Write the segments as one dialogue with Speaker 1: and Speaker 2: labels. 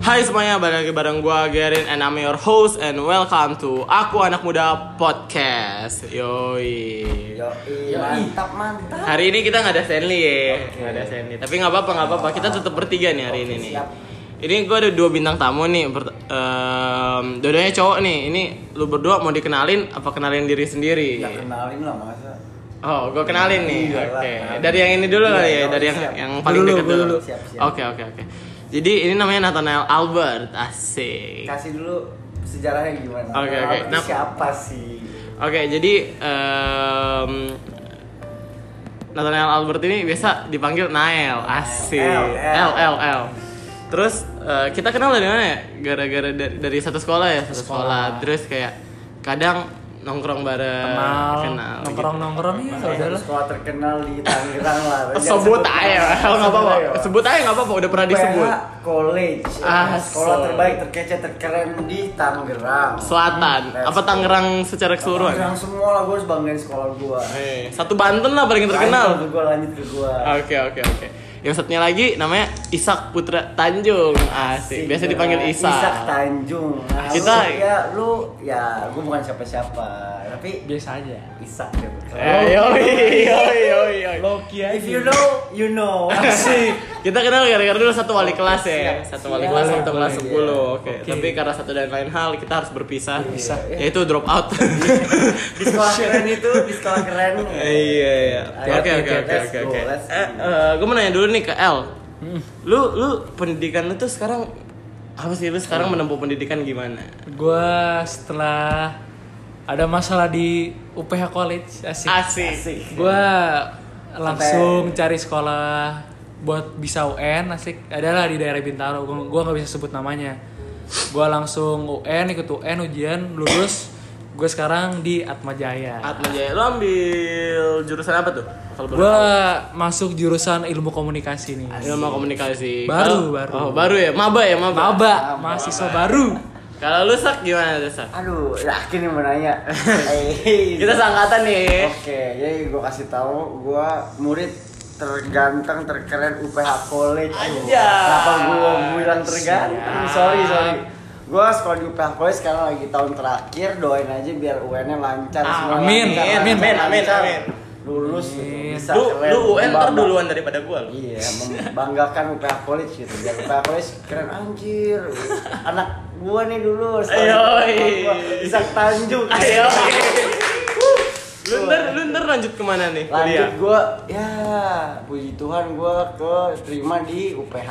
Speaker 1: Hai semuanya, balik lagi bareng gue Gerin and I'm your host and welcome to Aku Anak Muda Podcast Yoi
Speaker 2: Yoi, mantap mantap.
Speaker 1: Hari ini kita nggak ada Stanley ya Nggak ada Stanley, tapi nggak apa-apa, nggak apa-apa Kita tetap bertiga nih hari ini nih
Speaker 2: siap.
Speaker 1: Ini gue ada dua bintang tamu nih Pert- em, Dua-duanya cowok nih, ini lu berdua mau dikenalin apa kenalin diri sendiri?
Speaker 2: Ya kenalin lah masa.
Speaker 1: Oh, gue kenalin nih.
Speaker 2: Iya
Speaker 1: Oke.
Speaker 2: lah, kenalin.
Speaker 1: Dari yang ini dulu
Speaker 2: Iya,
Speaker 1: kali ya,
Speaker 2: iya,
Speaker 1: dari yang
Speaker 2: siap.
Speaker 1: yang paling
Speaker 2: Dulu,
Speaker 1: dekat
Speaker 2: dulu,
Speaker 1: dulu.
Speaker 2: dulu. Siap, siap.
Speaker 1: Oke, oke, oke. Jadi ini namanya Nathaniel Albert. Asik. Oke,
Speaker 2: Kasih dulu sejarahnya gimana.
Speaker 1: Iya. Oke, oke.
Speaker 2: Kenapa
Speaker 1: Nah.
Speaker 2: Siapa sih?
Speaker 1: jadi em Nathaniel Albert ini biasa dipanggil Nael. Asik.
Speaker 2: L,
Speaker 1: L
Speaker 2: L.
Speaker 1: L L. Terus eh, kita kenal dari mana ya? Gara-gara dari, dari satu sekolah ya, satu sekolah. Terus kayak kadang nongkrong bareng
Speaker 3: kenal,
Speaker 1: gitu.
Speaker 3: nongkrong nongkrong ya
Speaker 2: Saudara
Speaker 3: saudara
Speaker 2: sekolah terkenal di Tangerang lah. Jangan
Speaker 1: Eh, sebut aja nggak apa-apa
Speaker 2: Iya, aja.
Speaker 1: sebut aja nggak apa-apa udah pernah
Speaker 2: UPH
Speaker 1: disebut
Speaker 2: College. Ya,
Speaker 1: Ah,
Speaker 2: sekolah
Speaker 1: so.
Speaker 2: terbaik, terkece, terkeren di Tangerang.
Speaker 1: selatan
Speaker 2: Let's
Speaker 1: apa
Speaker 2: go.
Speaker 1: Tangerang secara keseluruhan
Speaker 2: Tangerang semua lah gue harus banggain sekolah gue.
Speaker 1: Eh, satu Banten lah paling terkenal
Speaker 2: Gue lanjut ke gue.
Speaker 1: oke oke oke yang satunya lagi namanya Isak Putra Tanjung asik biasa dipanggil Isak
Speaker 2: Isak Tanjung. Nah, lu
Speaker 1: Kita-
Speaker 2: ya lu ya gue bukan siapa-siapa, tapi
Speaker 3: biasa aja
Speaker 2: Isak ya betul.
Speaker 1: eh, yoi yoi yoi yoi
Speaker 3: Loki aja
Speaker 2: If you know, you know.
Speaker 1: Asik. Kita kenal gara-gara dulu satu wali kelas ya.
Speaker 2: Siap,
Speaker 1: Satu
Speaker 2: siap.
Speaker 1: wali kelas
Speaker 3: Boleh,
Speaker 1: satu kelas
Speaker 2: boleh,
Speaker 1: 10.
Speaker 2: iya.
Speaker 1: Oke.
Speaker 3: Oke.
Speaker 1: Tapi karena satu dan lain hal kita harus berpisah.
Speaker 3: Berpisah.
Speaker 1: Yaitu drop out.
Speaker 2: di sekolah keren itu, di sekolah keren.
Speaker 1: Iya iya.
Speaker 2: Ayo,
Speaker 1: Oke oke
Speaker 2: let's
Speaker 1: oke oke
Speaker 2: go, Hmm.
Speaker 1: oke.
Speaker 2: let's go.
Speaker 1: Eh, eh, Gue mau nanya dulu nih ke L. Lu lu pendidikan lu tuh sekarang apa sih lu
Speaker 2: Hmm.
Speaker 1: sekarang menempuh pendidikan gimana?
Speaker 3: gue setelah ada masalah di UPH College asik
Speaker 1: Asik.
Speaker 3: gue langsung cari sekolah buat bisa UN asik adalah di daerah Bintaro gue nggak bisa sebut namanya gue langsung UN ikut UN ujian lulus gue sekarang di Atma Jaya
Speaker 1: Atma Jaya, lu ambil jurusan apa tuh? Kalau boleh
Speaker 3: gue masuk jurusan ilmu komunikasi nih
Speaker 1: tahu. ilmu komunikasi. Kalau-
Speaker 3: Baru, baru.
Speaker 1: Oh, baru ya, maba ya, maba.
Speaker 3: Maba mahasiswa baru
Speaker 1: Kalau lu sak gimana tuh sak?
Speaker 2: eh. Aduh, yakin nih mau nanya.
Speaker 1: Kita seangkatan nih.
Speaker 2: Oke, jadi gue kasih tahu, gue murid terganteng, terkeren UPH College. Aduh,
Speaker 1: Anjay.
Speaker 2: Kenapa gue bilang terganteng?
Speaker 1: Siap.
Speaker 2: Sorry, sorry. Gue sekolah di UPH College sekarang lagi tahun terakhir, doain aja biar UN-nya lancar. semua
Speaker 3: Amin,
Speaker 2: lancar,
Speaker 3: amin,
Speaker 2: lancar,
Speaker 1: amin,
Speaker 2: lancar.
Speaker 1: amin.
Speaker 2: Lulus gitu, bisa
Speaker 1: Lu
Speaker 2: keren.
Speaker 1: lu UN ntar
Speaker 2: Membanggakan.
Speaker 1: duluan daripada gua. lu.
Speaker 2: Iya, membanggakan UPH College gitu. Dan UPH College keren anjir. Anak gua nih dulu.
Speaker 1: Ayo,
Speaker 2: sekolah di tempat gua,
Speaker 1: ih.
Speaker 2: Isak Tanjung.
Speaker 1: Ayo. iya.
Speaker 2: Iya.
Speaker 1: Lu ntar lu ntar lanjut kemana nih?
Speaker 2: Lanjut
Speaker 1: kuliah?
Speaker 2: gua ya puji Tuhan gua ke terima di UPH.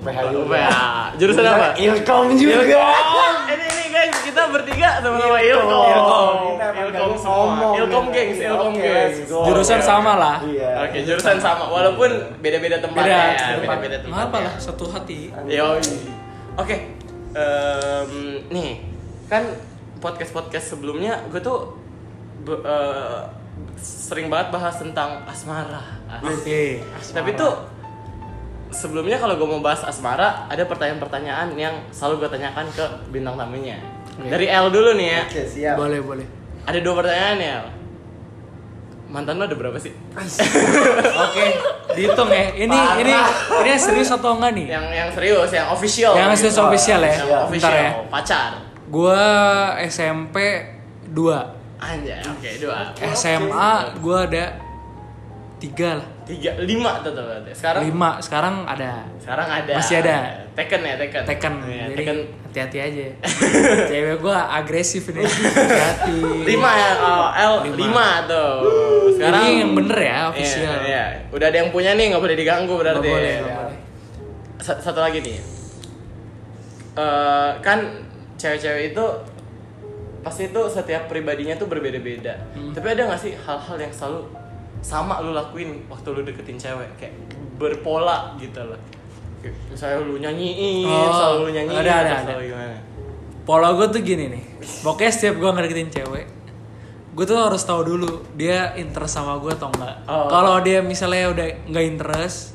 Speaker 2: UPH juga.
Speaker 1: UPH. ya? Jurusan apa?
Speaker 2: Ilkom juga.
Speaker 1: Ilkom. Ini nih guys, kita bertiga sama-sama Ilkom.
Speaker 2: Iya. Ilkom. Kita emang
Speaker 1: Ilkom
Speaker 2: gak
Speaker 1: semua.
Speaker 2: ngomong.
Speaker 1: Ilkom gengs, Ilkom
Speaker 2: Oke,
Speaker 1: gengs.
Speaker 2: let's go.
Speaker 3: jurusan
Speaker 1: Oke,
Speaker 3: sama lah
Speaker 2: Iya.
Speaker 1: Oke, jurusan sama walaupun beda-beda tempat
Speaker 3: beda
Speaker 1: ya,
Speaker 3: tempat.
Speaker 1: beda-beda
Speaker 3: Nggak
Speaker 1: tempat.
Speaker 3: apa
Speaker 1: ya.
Speaker 3: lah satu hati
Speaker 1: Yoi. Oke. Em, nih, kan podcast-podcast sebelumnya gue tuh be- eh, sering banget bahas tentang asmara.
Speaker 3: Oke.
Speaker 1: Tapi tuh sebelumnya kalau gue mau bahas asmara, ada pertanyaan-pertanyaan yang selalu gue tanyakan ke bintang tamunya. Dari L dulu nih ya.
Speaker 2: Oke, siap.
Speaker 3: boleh boleh
Speaker 1: Ada dua pertanyaan ya. L. Mantan lo ada berapa sih?
Speaker 3: oke dihitung ya ini
Speaker 1: Parah.
Speaker 3: ini ini yang serius atau enggak nih
Speaker 1: Yang yang serius, yang official.
Speaker 3: yang serius
Speaker 2: gitu.
Speaker 3: official ya
Speaker 1: Yang
Speaker 2: Iya.
Speaker 1: official,
Speaker 3: bentar ya
Speaker 1: pacar.
Speaker 3: gua SMP 2
Speaker 1: Anjay, oke dua.
Speaker 3: SMA gua ada tiga lah
Speaker 1: tiga lima tuh tuh berarti. sekarang
Speaker 3: lima sekarang ada
Speaker 1: sekarang ada
Speaker 3: Masih ada.
Speaker 1: Tekken ya Tekken
Speaker 3: Tekken
Speaker 1: Iya,
Speaker 3: jadi
Speaker 1: Tekken
Speaker 3: hati-hati aja cewek gua agresif ini hati
Speaker 1: lima ya kalau L
Speaker 3: Lima.
Speaker 1: lima tuh sekarang
Speaker 3: Ini yang bener ya, official.
Speaker 1: Iya, iya. udah ada yang punya nih nggak boleh diganggu
Speaker 3: nggak
Speaker 1: berarti
Speaker 3: boleh
Speaker 1: Iya.
Speaker 3: nggak boleh
Speaker 1: Sa- satu lagi nih Eh, kan cewek-cewek itu pasti itu setiap pribadinya tuh berbeda-beda
Speaker 3: Hmm.
Speaker 1: tapi ada nggak sih hal-hal yang selalu sama lu lakuin waktu lu deketin cewek kayak berpola gitu loh Kayak misalnya lu nyanyiin
Speaker 3: Oh,
Speaker 1: selalu lu nyanyiin
Speaker 3: ada, ada,
Speaker 1: atau
Speaker 3: ada.
Speaker 1: selalu gimana
Speaker 3: Pola gue tuh gini nih. Pokoknya setiap gue ngedeketin cewek, gue tuh harus tahu dulu dia interest sama gue atau enggak.
Speaker 1: Oh.
Speaker 3: Kalau dia misalnya udah nggak interest,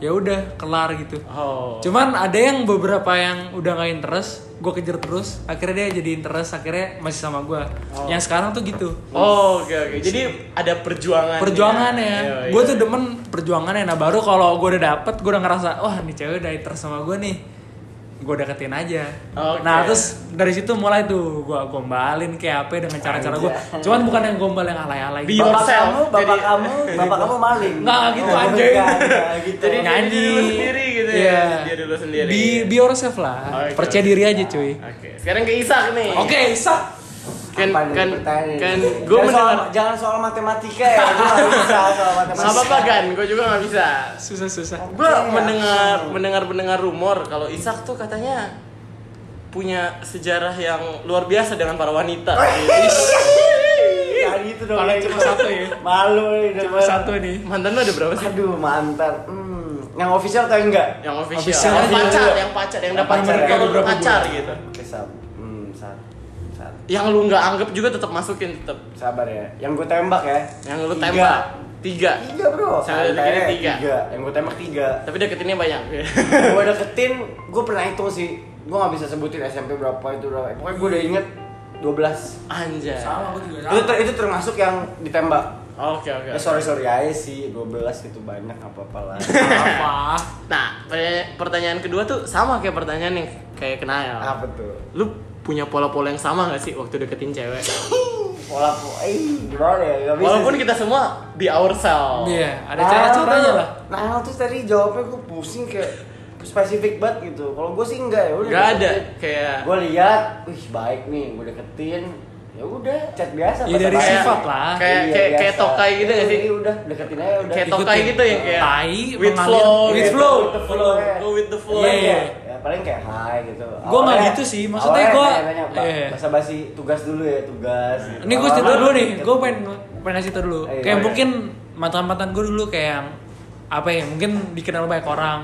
Speaker 3: ya udah kelar gitu.
Speaker 1: oh
Speaker 3: Cuman ada yang beberapa yang udah nggak interest, gue kejar terus, akhirnya dia jadi interest, akhirnya masih sama gue. Yang sekarang tuh gitu.
Speaker 1: Oh, oke oke. Jadi ada perjuangan.
Speaker 3: Perjuangan ya.
Speaker 1: Iya,
Speaker 3: Gue
Speaker 1: iya.
Speaker 3: tuh ya. demen perjuangannya. Nah baru kalau gue udah dapet, gue udah ngerasa, wah nih cewek udah interest sama gue nih. gue deketin aja.
Speaker 1: Oke.
Speaker 3: Nah terus dari situ mulai tuh gue gombalin kayak apa ya dengan cara-cara gue. Cuman bukan yang gombal yang alay-alay.
Speaker 1: Be
Speaker 3: Bapak-
Speaker 2: Bapak
Speaker 1: yourself.
Speaker 2: kamu, bapak
Speaker 1: Iya, Jadi- Nah,
Speaker 2: kamu, bapak kamu maling.
Speaker 3: Nggak, gitu,
Speaker 2: Oh,
Speaker 3: anjing.
Speaker 2: bukan, nggak gitu.
Speaker 1: Jadi dia
Speaker 3: nyanyi
Speaker 1: diri lu sendiri gitu ya?
Speaker 3: Iya.
Speaker 1: Dia diri lu sendiri.
Speaker 3: Be, be yourself lah.
Speaker 1: Oke.
Speaker 3: Percaya diri aja cuy.
Speaker 1: Oke, sekarang ke Isak nih.
Speaker 3: Oke, Isa.
Speaker 1: Kan
Speaker 2: Apa nih
Speaker 1: kan
Speaker 2: pertanyaan
Speaker 1: kan
Speaker 2: ini?
Speaker 1: gue
Speaker 2: Jangan soal-
Speaker 1: mendengar
Speaker 2: jangan soal matematika ya, gue nggak bisa soal matematika.
Speaker 1: Gak apa-apa kan, gue juga gak bisa
Speaker 3: Susah susah.
Speaker 1: Gue
Speaker 2: Iya.
Speaker 1: mendengar mendengar mendengar rumor kalau Isak tuh katanya punya sejarah yang luar biasa dengan para
Speaker 2: Oh,
Speaker 1: wanita.
Speaker 2: iya. Jangan gitu dong.
Speaker 3: Iya. Paling
Speaker 2: ya.
Speaker 3: cuma satu ya.
Speaker 2: Malu nih.
Speaker 3: Cuma
Speaker 2: denger.
Speaker 3: satu ya. nih.
Speaker 1: Mantan lo ada berapa sih?
Speaker 2: Aduh, mantap. Hmm, yang official atau enggak?
Speaker 1: Yang official,
Speaker 3: Official
Speaker 1: yang
Speaker 3: aja
Speaker 1: pacar,
Speaker 3: dulu.
Speaker 1: yang pacar, yang
Speaker 2: Yang
Speaker 1: dapat
Speaker 2: pacar,
Speaker 1: pacar,
Speaker 2: kayak
Speaker 1: kalau
Speaker 3: beberapa
Speaker 1: pacar gitu.
Speaker 2: Oke, sab. Hmm, sab. Sab.
Speaker 1: Yang lu nggak anggap juga tetap masukin tetap.
Speaker 2: Sabar ya. Yang gue tembak ya.
Speaker 1: Yang lu
Speaker 2: Tiga.
Speaker 1: tembak tiga.
Speaker 2: Tiga, Bro.
Speaker 1: Saya
Speaker 2: Santai,
Speaker 1: deketin tiga.
Speaker 2: Yang gue tembak tiga.
Speaker 1: Tapi deketinnya banyak.
Speaker 2: gue deketin, gue pernah hitung sih. Gue nggak bisa sebutin SMP berapa itu berapa. Pokoknya gue udah inget 12.
Speaker 1: Anjay.
Speaker 3: gue juga
Speaker 2: Itu, ter- itu termasuk yang ditembak.
Speaker 1: Oke oke.
Speaker 2: Ya sorry sorry aja sih 12 itu banyak apa apa lah.
Speaker 3: Apa?
Speaker 1: Nah pertanya- pertanyaan kedua tuh sama kayak pertanyaan yang kayak kenal.
Speaker 2: apa tuh?
Speaker 1: Lu punya pola-pola yang sama gak sih waktu deketin cewek?
Speaker 2: Pola pola. Eh gimana ya? Gak bisa.
Speaker 1: Walaupun
Speaker 2: sih.
Speaker 1: kita semua be ourselves.
Speaker 3: Iya, ada cara-caranya lah.
Speaker 2: Nah, nah, terus tadi jawabnya gue pusing kayak spesifik banget gitu. Kalau gue sih enggak ya udah.
Speaker 1: Gak ada kayak
Speaker 2: Gue lihat, wih baik nih, gue deketin. Ya udah, chat biasa.
Speaker 3: Ya,
Speaker 2: basa
Speaker 3: dari
Speaker 2: basi.
Speaker 3: sifat lah.
Speaker 1: Kayak- kayak- kayak
Speaker 2: biasa.
Speaker 1: tokai gitu
Speaker 2: Ya,
Speaker 1: gak sih?
Speaker 2: iya, udah, deketin aja udah. Iya,
Speaker 1: kayak
Speaker 3: Ikut
Speaker 1: tokai
Speaker 3: ya.
Speaker 1: gitu ya kayak
Speaker 3: Tai,
Speaker 1: with
Speaker 3: mengalir.
Speaker 1: flow.
Speaker 3: With
Speaker 1: gitu.
Speaker 3: flow.
Speaker 1: With the flow. Go with the flow.
Speaker 3: Iya,
Speaker 2: Paling
Speaker 3: iya.
Speaker 2: kayak- ya, paling kayak hai gitu.
Speaker 3: Gua nggak gitu sih, maksudnya gua- iya.
Speaker 2: bahasa basi tugas dulu ya, tugas. gitu.
Speaker 3: Ini gue cerita
Speaker 1: Nah,
Speaker 2: Lama-lama
Speaker 3: dulu nih,
Speaker 2: deket.
Speaker 3: gue pengen pengen ngasih tau
Speaker 1: Eh,
Speaker 3: dulu.
Speaker 2: Ayo,
Speaker 3: kayak
Speaker 2: ayo.
Speaker 3: mungkin mantan-mantan gue dulu kayak yang apa ya, mungkin dikenal banyak orang.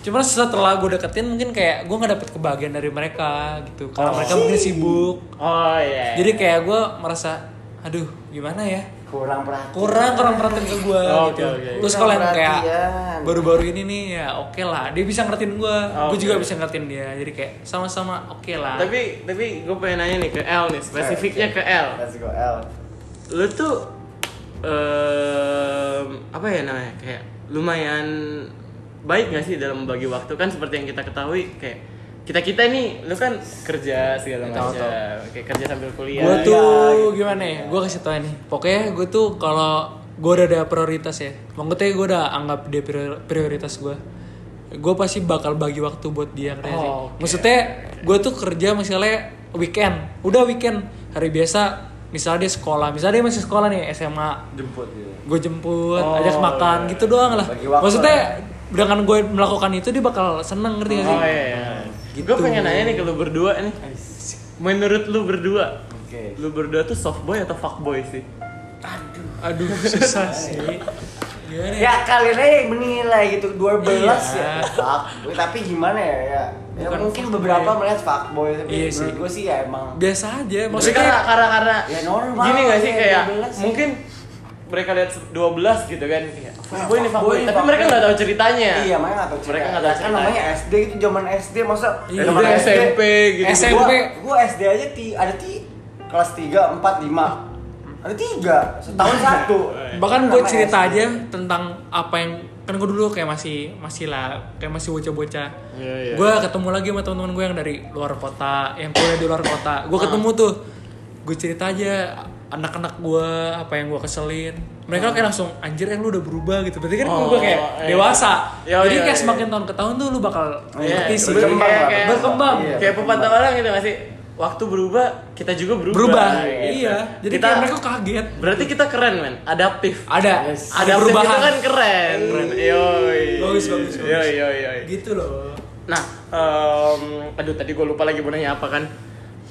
Speaker 3: Cuman setelah gue deketin mungkin kayak gue nggak dapet kebahagiaan dari mereka gitu. Karena mereka mungkin sibuk.
Speaker 1: Oh iya.
Speaker 3: Jadi kayak gue merasa, aduh gimana ya?
Speaker 2: kurang perhatian.
Speaker 3: kurang kurang perhatian ke gue
Speaker 1: Oh,
Speaker 3: gitu.
Speaker 1: oke, oke.
Speaker 3: Terus kalau yang
Speaker 2: Kurang
Speaker 3: kayak
Speaker 2: perhatian.
Speaker 3: baru-baru ini nih ya oke lah, dia bisa ngertiin gue, gue
Speaker 1: Oke.
Speaker 3: juga bisa ngertiin dia. Jadi kayak sama-sama oke lah.
Speaker 1: tapi tapi gue pengen nanya nih ke L nih spesifiknya ke L.
Speaker 2: Let's go L.
Speaker 1: Lu tuh em, apa ya namanya kayak lumayan baik gak sih dalam membagi waktu kan seperti yang kita ketahui kayak kita kita nih lu kan kerja segala
Speaker 3: Ya, tahu,
Speaker 1: macam kayak kerja sambil kuliah.
Speaker 3: gue
Speaker 2: Iya,
Speaker 3: tuh
Speaker 2: gitu.
Speaker 3: gimana ya? Gue kasih tau nih. Pokoknya gue tuh kalau gue udah ada prioritas ya, maksudnya gue udah anggap dia prior- prioritas gue. Gue pasti bakal bagi waktu buat dia ngerti nggak sih?
Speaker 1: Oh, oke.
Speaker 3: Maksudnya gue tuh kerja misalnya weekend, udah weekend hari biasa. Misalnya dia sekolah, misalnya dia masih sekolah nih SMA,
Speaker 2: Jemput gitu.
Speaker 3: gue jemput,
Speaker 1: Oh,
Speaker 3: ajak makan
Speaker 1: iya.
Speaker 3: gitu doang lah.
Speaker 2: Bagi waktu
Speaker 3: Maksudnya
Speaker 2: lah ya.
Speaker 3: dengan gue melakukan itu dia bakal seneng ngerti gak sih? Gitu.
Speaker 1: Oh iya. Gue pengen nanya nih ke lu berdua nih. Menurut lu berdua,
Speaker 2: Oke.
Speaker 1: lu berdua tuh soft boy atau fuck boy sih?
Speaker 3: Aduh susah sih. Gimana ya?
Speaker 2: Ya kalian aja yang menilai gitu 12
Speaker 3: Iya.
Speaker 2: ya. Fuckboy. Tapi gimana ya? ya, ya
Speaker 3: Bukan
Speaker 2: mungkin
Speaker 3: fuckboy.
Speaker 2: beberapa melihat fuckboy tapi
Speaker 3: Iya
Speaker 2: menurut
Speaker 3: sih.
Speaker 2: gue sih ya emang
Speaker 3: Biasa aja.
Speaker 1: Maksudnya
Speaker 3: Maksudnya
Speaker 1: karena karena, karena
Speaker 2: Ya, normal
Speaker 1: gini gak sih
Speaker 2: ya,
Speaker 1: kayak
Speaker 2: 12 sih.
Speaker 1: mungkin mereka lihat 12 gitu kan kayak fuck boy nih fuck
Speaker 2: fuckboy
Speaker 1: boy,
Speaker 2: nih,
Speaker 1: tapi
Speaker 2: fuckboy.
Speaker 1: mereka nggak tahu ceritanya.
Speaker 2: Iya, makanya nggak tahu
Speaker 1: Mereka
Speaker 2: cerita.
Speaker 1: nggak tahu
Speaker 2: Kan
Speaker 1: cerita.
Speaker 2: namanya SD itu zaman SD masa
Speaker 3: Iya,
Speaker 2: zaman
Speaker 1: Itu SMP gitu.
Speaker 2: Gua-
Speaker 3: S- SMP.
Speaker 2: Gua, SD aja ti ada ti kelas 3 4 5. Ada tiga, setahun satu.
Speaker 3: Iya. bahkan
Speaker 1: ya,
Speaker 2: Namanya
Speaker 3: gue
Speaker 2: Iya,
Speaker 3: cerita
Speaker 2: SD.
Speaker 3: aja tentang apa yang kan gue dulu kayak masih masih lah kayak masih bocah-bocah.
Speaker 1: Iya, iya.
Speaker 3: Gue ketemu lagi sama teman-teman gue yang dari luar kota, yang kuliah di luar kota.
Speaker 1: Ah.
Speaker 3: Gue ketemu tuh, gue cerita aja anak-anak gue apa yang gue keselin. Mereka kayak langsung anjir yang lu udah berubah gitu. Berarti kan
Speaker 1: Ah. Oh,
Speaker 3: gue
Speaker 1: iya.
Speaker 3: kayak dewasa.
Speaker 1: Iya,
Speaker 3: Jadi
Speaker 1: iya,
Speaker 3: kayak
Speaker 1: iya.
Speaker 3: semakin tahun ke tahun tuh lu bakal
Speaker 2: Iya,
Speaker 3: ngerti sih.
Speaker 2: berkembang lah,
Speaker 1: Kayak-
Speaker 3: berkembang.
Speaker 2: Iya,
Speaker 1: Kayak pepatah orang gitu gak sih? Waktu berubah, kita juga berubah.
Speaker 3: Berubah.
Speaker 1: gitu.
Speaker 3: Iya. Jadi
Speaker 1: kita
Speaker 3: kayak mereka kaget.
Speaker 1: berarti kita keren men, adaptif.
Speaker 3: Ada
Speaker 2: Yes.
Speaker 3: ada
Speaker 1: Adaptif
Speaker 3: perubahan.
Speaker 1: itu kan keren. Keren. Yoi.
Speaker 3: Bagus, bagus, bagus.
Speaker 1: Yoi, yoi, yoi.
Speaker 3: Gitu loh.
Speaker 1: Nah, em, aduh tadi gue lupa lagi mau nanya apa kan.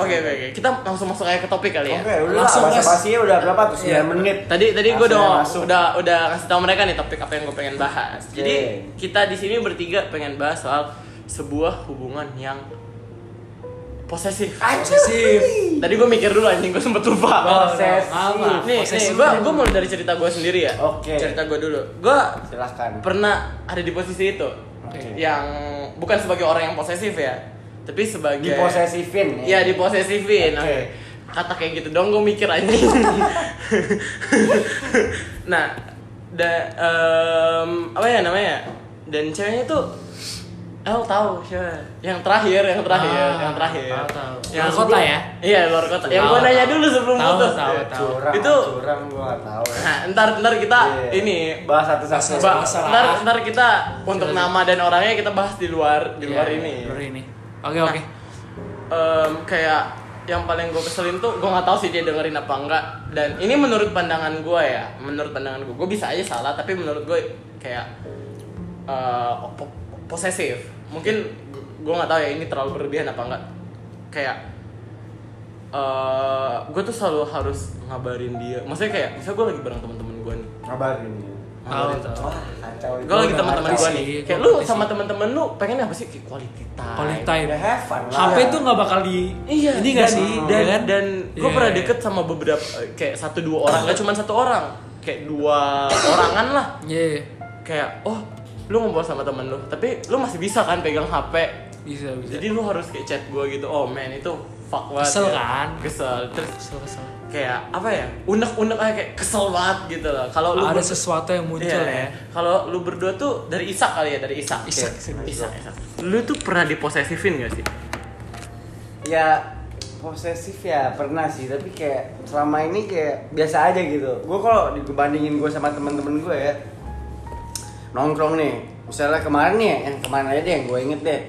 Speaker 1: Oke oke oke, kita langsung masuk aja ke topik kali ya.
Speaker 2: Oke, udah
Speaker 3: Langsung,
Speaker 2: bahasa
Speaker 3: Mas.
Speaker 2: basinya udah berapa tuh? 9
Speaker 3: Iya.
Speaker 2: menit.
Speaker 1: Tadi tadi gue
Speaker 2: Langsung
Speaker 1: udah
Speaker 2: masuk.
Speaker 1: udah udah kasih tahu mereka nih topik apa yang gue pengen bahas. Jadi kita di sini bertiga pengen bahas soal sebuah hubungan yang posesif.
Speaker 3: Posesif.
Speaker 1: Tadi gue mikir dulu anjing gue sempet lupa.
Speaker 2: Posesif.
Speaker 3: Apa?
Speaker 1: Nih, nih
Speaker 3: Posesif.
Speaker 1: gue gue mulai dari cerita gue sendiri ya.
Speaker 2: Oke.
Speaker 1: Cerita gue dulu. Gue
Speaker 2: Silahkan.
Speaker 1: pernah ada di posisi itu
Speaker 2: Oke.
Speaker 1: yang bukan sebagai orang yang posesif ya tapi sebagai
Speaker 2: Diposesifin ya?
Speaker 1: iya diposesifin
Speaker 2: Oke.
Speaker 1: oke kata kayak gitu dong gue mikir aja nah da, em, apa ya namanya dan ceweknya tuh El tahu siapa? Yang terakhir, yang terakhir,
Speaker 3: Ah,
Speaker 1: yang terakhir.
Speaker 3: tahu, tahu.
Speaker 1: Yang
Speaker 3: Luar kota
Speaker 1: sebelum-
Speaker 3: ya?
Speaker 1: Iya, luar kota. Yang
Speaker 3: Tahu,
Speaker 1: gua nanya
Speaker 3: tahu.
Speaker 1: dulu sebelum
Speaker 3: Tahu,
Speaker 1: putus.
Speaker 3: tahu,
Speaker 1: Iya.
Speaker 3: tahu.
Speaker 2: curang
Speaker 1: Itu
Speaker 2: curang gua nggak tahu ya.
Speaker 1: Nah, ntar ntar kita
Speaker 2: Iya.
Speaker 1: ini
Speaker 2: bahas satu satu
Speaker 3: Bahas-
Speaker 1: ba-
Speaker 3: bahas. Masalah.
Speaker 1: ntar ntar kita untuk nama dan orangnya kita bahas di luar di luar
Speaker 3: Iya,
Speaker 1: ini. Nah.
Speaker 3: di luar ini oke oke
Speaker 1: Em, kayak yang paling gue keselin tuh gue nggak tahu sih dia dengerin apa enggak dan ini menurut pandangan gue ya menurut pandangan gue gue bisa aja salah tapi menurut gue kayak eh, po- posesif mungkin gue nggak tahu ya ini terlalu berlebihan apa enggak kayak eh gue tuh selalu harus ngabarin dia maksudnya kayak misalnya gue lagi bareng teman-teman gue nih
Speaker 2: ngabarin
Speaker 3: tahu
Speaker 1: ngabarin
Speaker 3: tahu
Speaker 2: wah kacau
Speaker 1: gue lagi
Speaker 3: Oh. Gua
Speaker 1: teman-teman gue
Speaker 3: ngerti
Speaker 1: nih
Speaker 3: sih, gua
Speaker 1: kayak lu
Speaker 3: ngerti
Speaker 1: sama teman-temen lu pengen apa sih kayak quality time
Speaker 2: udah
Speaker 3: quality time
Speaker 2: have fun lah
Speaker 3: HP tuh nggak bakal di
Speaker 1: Iya.
Speaker 3: ini nggak
Speaker 1: dan-
Speaker 3: sih
Speaker 1: Dan
Speaker 3: ya kan?
Speaker 1: dan gue
Speaker 3: Iya.
Speaker 1: pernah deket sama beberapa kayak satu dua orang, gak cuma satu orang, kayak dua orangan lah.
Speaker 3: iya iya.
Speaker 1: Kayak oh lu ngobrol sama temen lu, tapi lu masih bisa kan pegang HP.
Speaker 3: bisa bisa
Speaker 1: Jadi lu harus kayak chat gue gitu. Oh man itu fuck banget.
Speaker 3: Kesel
Speaker 1: ya.
Speaker 3: kan?
Speaker 1: Kesel. Terus
Speaker 3: kesel kesel
Speaker 1: kayak apa ya? Unek-unek aja kayak kesel banget gitu loh. Kalau lu
Speaker 3: ada
Speaker 1: ber-
Speaker 3: sesuatu yang muncul
Speaker 1: Iya.
Speaker 3: ya
Speaker 1: Kalau lu berdua tuh dari Isak kali ya, dari Isak.
Speaker 3: Isak,
Speaker 1: Oke.
Speaker 3: Isak.
Speaker 1: Isak, Isak. Lu tuh pernah diposesifin gak sih?
Speaker 2: ya posesif ya pernah sih tapi kayak selama ini kayak biasa aja gitu gue kalau dibandingin gue sama temen-temen gue ya nongkrong nih misalnya kemarin nih yang kemarin aja deh yang gue inget deh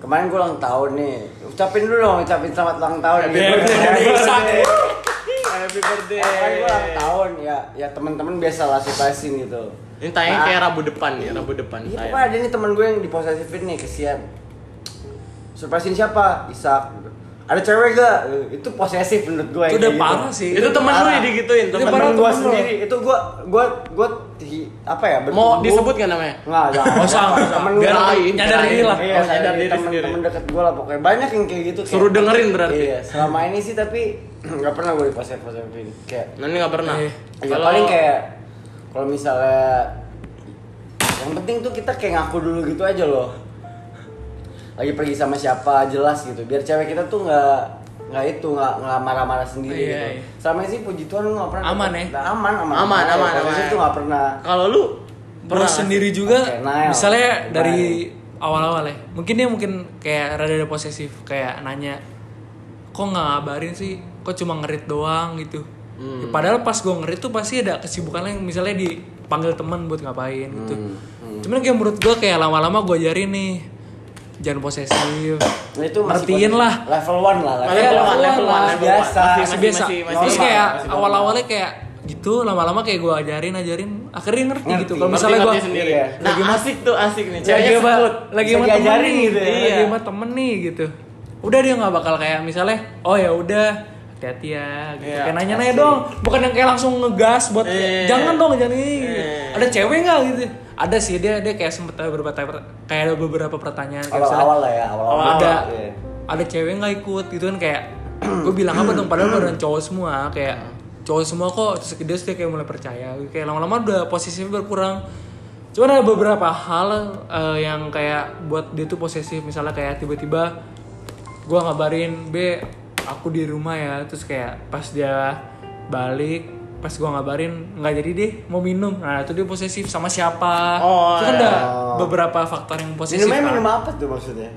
Speaker 2: kemarin gue ulang tahun nih ucapin dulu dong ucapin selamat ulang tahun
Speaker 1: Happy birthday, Isak. Happy birthday.
Speaker 2: Kan gue ulang tahun ya ya teman-teman biasa lah surprisein gitu.
Speaker 1: Ini tayangnya
Speaker 2: Nah,
Speaker 1: kayak Rabu depan ya, Rabu depan
Speaker 2: Iya
Speaker 1: tayang.
Speaker 2: apa ada nih teman gue yang diposesifin nih kesian. Surprisein siapa? Isak. Ada cewek gak? Eh, Itu posesif menurut gue. yang
Speaker 3: Itu udah
Speaker 2: kayak gitu.
Speaker 3: parah sih.
Speaker 1: Itu temen lu
Speaker 2: Parah.
Speaker 1: yang digituin,
Speaker 2: Itu
Speaker 1: temen
Speaker 2: temen
Speaker 1: lu.
Speaker 2: gue
Speaker 3: temen lu.
Speaker 2: sendiri. Itu gue gue gue hi- apa ya?
Speaker 1: Mau
Speaker 2: bertumbuh.
Speaker 1: disebut gak namanya?
Speaker 2: Nggak, jangan.
Speaker 3: Oh, sama, sama.
Speaker 2: Temen gue.
Speaker 1: Biar lain.
Speaker 3: nyadar diri lah.
Speaker 2: Iya,
Speaker 1: sadar diri
Speaker 2: temen,
Speaker 1: sendiri.
Speaker 2: temen deket gue lah pokoknya. Banyak yang kayak gitu. kayak-
Speaker 1: Suruh dengerin berarti.
Speaker 2: Iya, selama ini sih tapi nggak pernah gue diposesifin. Kayak
Speaker 1: Nah, ini gak pernah.
Speaker 3: Iya.
Speaker 2: Ya, paling kayak kalau misalnya yang penting tuh kita kayak ngaku dulu gitu aja loh. Lagi pergi sama siapa jelas gitu. Biar cewek kita tuh nggak nggak itu nggak nggak marah-marah sendiri
Speaker 3: Iya,
Speaker 2: gitu.
Speaker 3: iya.
Speaker 2: Sama sih puji Tuhan lu nggak pernah
Speaker 3: Aman
Speaker 2: dapet-
Speaker 3: ya?
Speaker 2: Nah, aman aman
Speaker 1: Aman,
Speaker 2: Ya,
Speaker 1: aman,
Speaker 2: posesif
Speaker 1: aman.
Speaker 2: tuh nggak pernah.
Speaker 1: kalau lu
Speaker 3: Bro
Speaker 1: pernah
Speaker 3: sendiri juga
Speaker 2: Oke,
Speaker 1: nah, ya,
Speaker 2: Nile.
Speaker 3: misalnya
Speaker 2: Bye.
Speaker 3: dari awal-awal ya mungkin dia mungkin kayak rada ada posesif kayak nanya kok nggak ngabarin sih kok cuma ngerit doang gitu
Speaker 1: Hmm.
Speaker 3: Ya, padahal pas gue ngerit tuh pasti ada kesibukan lain misalnya dipanggil teman buat ngapain gitu
Speaker 1: Hmm,
Speaker 3: cuman kayak menurut gue kayak lama-lama gue ajarin nih jangan posesif
Speaker 2: Nah, itu masih
Speaker 3: Ngertiin
Speaker 2: posesif.
Speaker 3: lah.
Speaker 2: Level 1 lah.
Speaker 1: Level one, level one,
Speaker 2: lah,
Speaker 1: level
Speaker 2: biasa.
Speaker 1: one.
Speaker 3: masih
Speaker 1: Masih-
Speaker 3: biasa
Speaker 1: masih- masih
Speaker 3: terus
Speaker 2: normal,
Speaker 3: kayak
Speaker 2: masih normal.
Speaker 3: awal-awalnya kayak gitu lama-lama kayak gue ajarin ajarin akhirnya ngerti,
Speaker 2: Ngerti.
Speaker 3: gitu kalau
Speaker 1: Ngerti,
Speaker 3: misalnya gue
Speaker 1: ngerti sendiri.
Speaker 2: Iya.
Speaker 1: Nah, asik tuh asik nih.
Speaker 3: lagi
Speaker 1: Ceweknya
Speaker 3: sama
Speaker 1: sebut.
Speaker 3: lagi
Speaker 2: Bisa
Speaker 3: sama temen
Speaker 2: diajarin
Speaker 3: nih,
Speaker 2: gitu ya.
Speaker 3: lagi
Speaker 1: Iya.
Speaker 3: sama temen nih gitu udah dia nggak bakal kayak misalnya oh ya udah hati-hati ya gitu.
Speaker 1: Iya,
Speaker 3: kayak nanya-nanya dong bukan yang kayak langsung ngegas buat
Speaker 1: Iya.
Speaker 3: jangan dong jangan ini gitu.
Speaker 1: Iya.
Speaker 3: ada cewek nggak gitu ada sih dia dia kayak sempet ada beberapa kayak ada beberapa pertanyaan kayak misalnya,
Speaker 2: Awal-awal lah ya, awal-awal.
Speaker 3: ada
Speaker 2: Iya.
Speaker 3: ada cewek nggak ikut gitu kan kayak gue bilang apa dong padahal beneran cowok semua kayak cowok semua kok terus dia sudah kayak mulai percaya kayak lama-lama udah posisinya berkurang cuman ada beberapa hal eh, yang kayak buat dia tuh posesif misalnya kayak tiba-tiba gue ngabarin B aku di rumah ya terus kayak pas dia balik pas gue ngabarin nggak jadi deh mau minum nah itu dia posesif sama siapa
Speaker 1: Oh,
Speaker 3: itu kan
Speaker 1: iya.
Speaker 3: ada beberapa faktor yang posesif
Speaker 2: Minumnya
Speaker 3: kan.
Speaker 2: minum apa tuh maksudnya?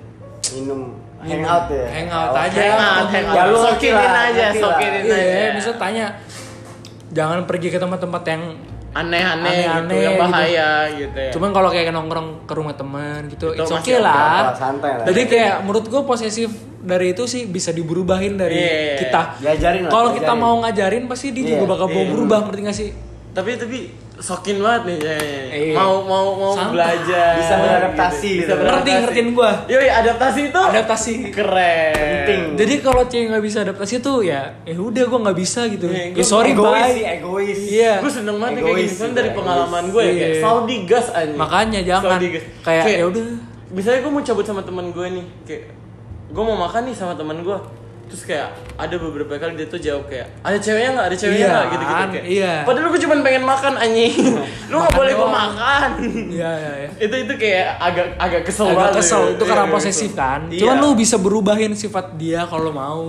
Speaker 2: Minum hangout ya?
Speaker 3: Hangout
Speaker 2: Oh,
Speaker 3: aja.
Speaker 1: Hangout,
Speaker 2: ketemu.
Speaker 1: hangout.
Speaker 2: Ya lu ngerti
Speaker 1: Sokinin
Speaker 2: lah,
Speaker 1: aja,
Speaker 2: ngerti lah.
Speaker 1: sokinin.
Speaker 3: Iya,
Speaker 1: aja.
Speaker 3: misalnya tanya jangan pergi ke tempat-tempat yang
Speaker 1: Aneh-aneh gitu,
Speaker 3: Aneh-aneh
Speaker 1: yang
Speaker 3: gitu.
Speaker 1: bahaya gitu ya.
Speaker 3: cuman kalau kayak nongkrong ke rumah teman gitu
Speaker 1: Itu
Speaker 3: it's
Speaker 1: masih
Speaker 3: okay lah.
Speaker 2: apa-apa, santai lah.
Speaker 3: Jadi kayak menurut gue posesif dari itu sih bisa diberubahin dari
Speaker 1: Iya.
Speaker 3: kita.
Speaker 2: Diajarin lah,
Speaker 3: Kalau kita
Speaker 2: diajarin.
Speaker 3: mau ngajarin pasti dia
Speaker 2: Iya.
Speaker 3: juga bakal mau
Speaker 1: Iya.
Speaker 3: berubah ngerti gak sih?
Speaker 1: tapi tapi sokin banget nih ceweknya.
Speaker 3: Iya.
Speaker 1: Mau mau mau
Speaker 3: Santai.
Speaker 1: belajar.
Speaker 2: Bisa beradaptasi gitu.
Speaker 3: Ngerti, ngertiin gua.
Speaker 1: Yoi, adaptasi itu
Speaker 3: Adaptasi.
Speaker 1: keren.
Speaker 2: Penting.
Speaker 3: Jadi kalau cewek nggak bisa adaptasi tuh ya, ya udah gue nggak bisa gitu.
Speaker 1: Iya,
Speaker 3: Ya
Speaker 1: gua-
Speaker 3: sorry
Speaker 2: egois
Speaker 3: bye.
Speaker 2: sih, egois.
Speaker 3: Iya.
Speaker 1: gue seneng banget nih kayak gini
Speaker 2: Egois
Speaker 1: soalnya
Speaker 2: juga,
Speaker 1: dari
Speaker 2: egois.
Speaker 1: pengalaman gue ya kayak
Speaker 3: Iya.
Speaker 1: Saudi gas aja
Speaker 3: Makanya jangan. Kayak, ya udah.
Speaker 1: misalnya gue mau cabut sama teman gue nih kayak gue mau makan nih sama teman gue terus kayak ada beberapa kali dia tuh jawab kayak ada ceweknya nggak ada ceweknya
Speaker 3: Iya,
Speaker 1: nggak gitu gitu kayak
Speaker 3: iya.
Speaker 1: padahal gue cuma pengen makan anjing lu nggak
Speaker 3: Makan
Speaker 1: boleh gue
Speaker 3: doang.
Speaker 1: makan
Speaker 3: Iya iya iya.
Speaker 1: itu itu kayak agak agak kesel
Speaker 3: agak
Speaker 1: banget
Speaker 3: kesel itu
Speaker 1: Iya,
Speaker 3: karena
Speaker 1: agak
Speaker 3: posesif
Speaker 1: kesel.
Speaker 3: kan
Speaker 1: Iya.
Speaker 3: cuman lu bisa berubahin sifat dia kalau lu mau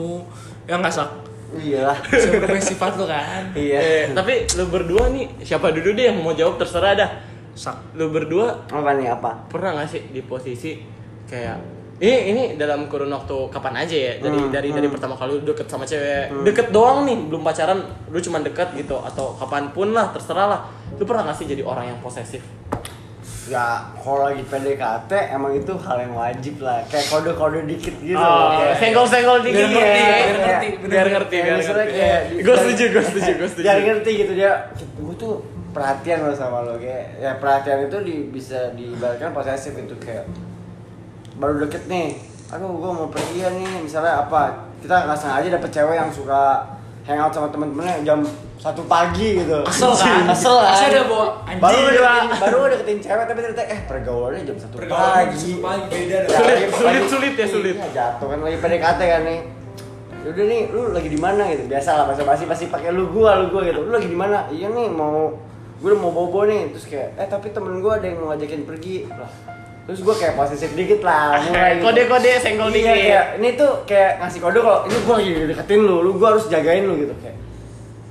Speaker 3: ya nggak sak
Speaker 2: Iya lah.
Speaker 3: bisa berubahin sifat lu kan
Speaker 2: Iya.
Speaker 1: Eh, tapi lu berdua nih siapa dulu deh yang mau jawab terserah dah
Speaker 3: sak
Speaker 1: lu berdua
Speaker 2: Apa nih apa?
Speaker 1: pernah gak sih di posisi kayak ini ini dalam kurun waktu kapan aja ya dari
Speaker 3: Hmm,
Speaker 1: dari dari pertama kali lu deket sama cewek deket doang nih belum pacaran lu cuman deket gitu atau kapanpun lah terserah lah lu pernah gak sih jadi orang yang posesif
Speaker 2: Ya, kalau lagi PDKT emang itu hal yang wajib lah. Kayak kode-kode dikit gitu.
Speaker 1: Oh,
Speaker 2: Kayak-
Speaker 1: senggol-senggol dikit
Speaker 2: Biar ngerti,
Speaker 1: ya.
Speaker 2: biar ngerti,
Speaker 1: biar ngerti,
Speaker 2: Kayak
Speaker 1: biar
Speaker 2: misalnya
Speaker 1: ngerti.
Speaker 2: kayak-
Speaker 1: Gue setuju, gue setuju, gue setuju.
Speaker 2: Biar ngerti gitu dia. Gue tuh perhatian lo sama lo kayak ya perhatian itu di, bisa diibaratkan posesif itu kayak baru deket nih aduh gue mau pergi ya nih misalnya apa kita nggak sengaja dapet cewek yang suka hangout sama temen-temennya jam satu pagi gitu
Speaker 3: Kesel kan?
Speaker 2: kesel kan
Speaker 3: Pasti ada bawa anjing. Iya.
Speaker 2: baru udah deketin, baru udah deketin cewek tapi ternyata eh pergaulannya jam satu
Speaker 4: Pergaulan jam
Speaker 2: pagi
Speaker 4: 1 pagi, beda dah.
Speaker 1: Sulit,
Speaker 2: lagi-
Speaker 1: sulit,
Speaker 2: lagi-
Speaker 1: sulit ya, sulit.
Speaker 2: iya, jatuh kan lagi PDKT kan nih udah nih lu lagi di mana gitu biasa lah bahasa basi pasti pakai lu gua lu gua gitu lu lagi di mana iya nih mau gua udah mau bobo nih terus kayak eh tapi temen gua ada yang mau ngajakin pergi lah terus gua kayak posesif dikit lah mulai gitu.
Speaker 1: Kode-kode, senggol
Speaker 2: Iya,
Speaker 1: dikit.
Speaker 2: kayak, ini tuh kayak ngasih kode kalau ini gua lagi deketin lu lu gua harus jagain lu gitu kayak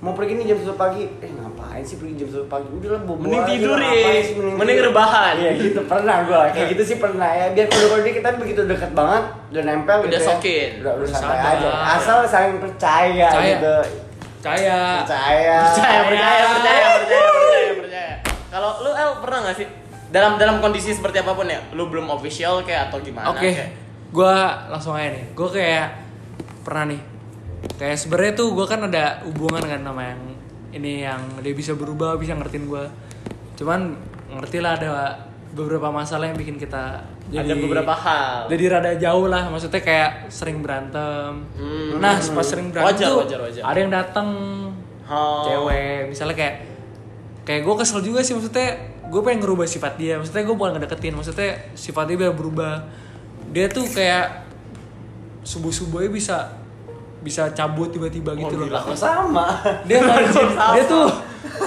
Speaker 2: mau pergi nih jam satu pagi eh ngapain sih pergi jam satu pagi udah lah bobo
Speaker 1: Mending
Speaker 2: aja lah,
Speaker 1: tidur,
Speaker 2: ngapain
Speaker 1: ya.
Speaker 2: sih,
Speaker 1: Mending
Speaker 2: tidur.
Speaker 1: rebahan.
Speaker 2: iya gitu pernah gua kayak gitu sih pernah ya biar kode-kode dikit tapi begitu dekat banget udah nempel
Speaker 1: Udah
Speaker 2: gitu ya.
Speaker 1: sokin.
Speaker 2: udah, udah santai
Speaker 3: Santai.
Speaker 2: aja asal saling percaya,
Speaker 3: Percaya. Ah.
Speaker 2: gitu
Speaker 3: Percaya.
Speaker 2: percaya
Speaker 1: percaya percaya percaya percaya percaya percaya kalau lu El pernah nggak sih dalam dalam kondisi seperti apapun ya lu belum official kayak atau gimana
Speaker 3: Oke,
Speaker 1: kayak
Speaker 3: gua langsung aja nih. Gua kayak pernah nih. Kayak sebenarnya tuh gua kan ada hubungan kan sama yang ini yang dia bisa berubah, bisa ngertiin gua. Cuman ngerti lah ada beberapa masalah yang bikin kita jadi
Speaker 1: ada beberapa hal
Speaker 3: jadi rada jauh lah maksudnya kayak sering berantem
Speaker 1: Hmm.
Speaker 3: nah pas sering berantem
Speaker 1: Wajar,
Speaker 3: tuh
Speaker 1: wajar, wajar.
Speaker 3: ada yang datang
Speaker 1: Oh.
Speaker 3: cewek misalnya kayak kayak gue kesel juga sih maksudnya gue pengen ngerubah sifat dia maksudnya gue bukan ngedeketin maksudnya sifat dia biar berubah dia tuh kayak subuh subuhnya bisa bisa cabut tiba-tiba gitu
Speaker 1: Oh,
Speaker 3: loh
Speaker 2: Lah, kok sama
Speaker 3: dia nggak izin dia tuh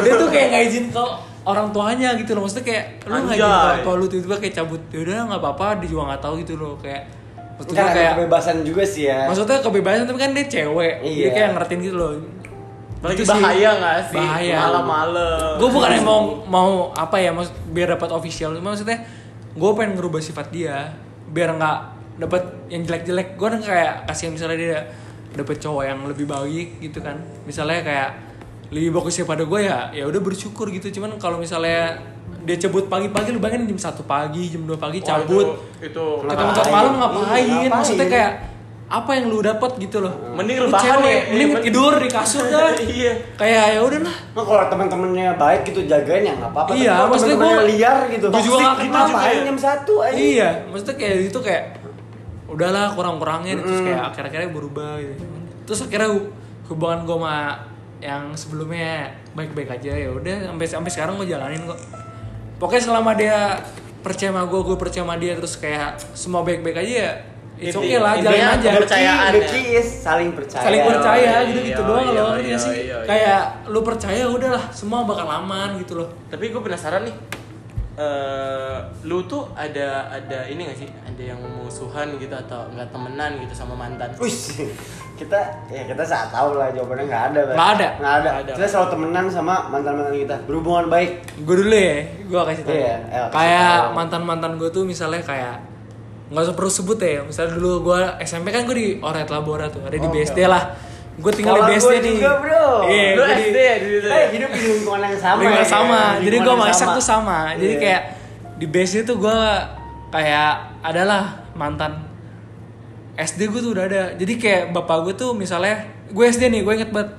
Speaker 3: dia tuh kayak nggak izin ke orang tuanya gitu loh maksudnya kayak lu nggak izin ke
Speaker 1: Anjay.
Speaker 3: orang tua lu tiba-tiba kayak cabut yaudah nggak apa-apa dia juga nggak tahu gitu loh kayak maksudnya
Speaker 2: kan ada
Speaker 3: kayak
Speaker 2: kebebasan juga sih ya
Speaker 3: maksudnya kebebasan tapi kan dia cewek dia
Speaker 2: Iya.
Speaker 3: kayak ngertiin gitu loh
Speaker 1: Apalagi
Speaker 3: Itu sih.
Speaker 1: bahaya nggak sih
Speaker 3: bahaya
Speaker 1: malam-malam
Speaker 3: gue bukan yang mau mau apa ya maksud biar dapat official cuma maksudnya gue pengen ngerubah sifat dia biar nggak dapat yang jelek-jelek gue kayak kasihan misalnya dia dapat cowok yang lebih baik gitu kan misalnya kayak lebih bagusnya pada gue ya ya udah bersyukur gitu cuman kalau misalnya dia cabut pagi-pagi lu bayangin jam satu pagi jam 2 pagi
Speaker 1: Wah,
Speaker 3: cabut
Speaker 1: itu, itu
Speaker 3: ketemu tiap malam ngapain?
Speaker 2: Iya, ngapain?
Speaker 3: maksudnya kayak apa yang lu dapat gitu loh
Speaker 1: Mending
Speaker 3: Lu
Speaker 1: rebahan
Speaker 3: cewek,
Speaker 1: ya, iya,
Speaker 3: mending
Speaker 1: mending-
Speaker 3: tidur di kasur kan
Speaker 1: Iya.
Speaker 3: kayak ya udahlah
Speaker 2: Nah, kalau teman-temannya baik gitu jagain ya nggak apa-apa. Tapi
Speaker 3: Iya,
Speaker 2: kalau
Speaker 3: maksudnya
Speaker 2: teman-temannya
Speaker 3: gua-
Speaker 2: liar gitu.
Speaker 3: gua juga nggak
Speaker 2: kita
Speaker 3: kenal
Speaker 1: juga
Speaker 2: main
Speaker 1: ya.
Speaker 2: jam satu aja.
Speaker 3: iya maksudnya kayak itu kayak udahlah kurang-kurangin terus kayak akhir-akhirnya berubah gitu terus akhirnya hu- hubungan gue sama yang sebelumnya baik-baik aja ya udah sampai sampai sekarang gue jalanin kok pokoknya selama dia percaya sama gue gue percaya sama dia terus kayak semua baik-baik aja ya it's
Speaker 1: Inti-
Speaker 3: okay lah
Speaker 1: intinya
Speaker 3: jalanin aja
Speaker 1: kepercayaan
Speaker 2: The
Speaker 1: ya.
Speaker 2: key is saling percaya.
Speaker 3: saling percaya
Speaker 1: Iya,
Speaker 3: gitu gitu
Speaker 1: iya,
Speaker 3: doang
Speaker 1: iya,
Speaker 3: loh ngerti
Speaker 1: iya,
Speaker 3: gak sih
Speaker 1: iya, iya.
Speaker 3: kayak lu percaya udahlah semua bakal aman gitu loh
Speaker 1: tapi gue penasaran nih Eh, lu tuh ada ada ini gak sih ada yang musuhan gitu atau nggak temenan gitu sama mantan
Speaker 2: Wih, kita ya kita saat tahu lah jawabannya nggak ada. Bang.
Speaker 3: Nggak ada.
Speaker 2: Nggak ada.
Speaker 1: Nggak ada.
Speaker 2: Kita selalu temenan sama mantan-mantan kita berhubungan baik.
Speaker 3: gue dulu ya gue kasih tau
Speaker 2: Iya, El, kasih
Speaker 3: kayak
Speaker 2: tau.
Speaker 3: mantan mantan gue tuh misalnya kayak nggak usah perlu sebut ya misalnya dulu gue SMP kan gue di Oret Labora tuh ada di BSD lah gue tinggal
Speaker 2: Oh, iya. Sekolah
Speaker 3: di BSD
Speaker 2: gua
Speaker 3: nih
Speaker 2: juga, bro.
Speaker 3: iya
Speaker 1: lu
Speaker 3: gua di-
Speaker 1: SD ya di situ
Speaker 2: Kita
Speaker 1: ya?
Speaker 2: Eh, hidup di lingkungan yang sama.
Speaker 3: Lingkungan
Speaker 2: ya.
Speaker 3: sama. Jadi gue
Speaker 2: Lingkungan
Speaker 3: sama
Speaker 2: yang
Speaker 3: Ishak tuh sama. Jadi
Speaker 2: Iya.
Speaker 3: kayak di base itu gue kayak adalah mantan SD gue tuh udah ada. Jadi kayak bapak gue tuh misalnya gue SD nih, gue inget banget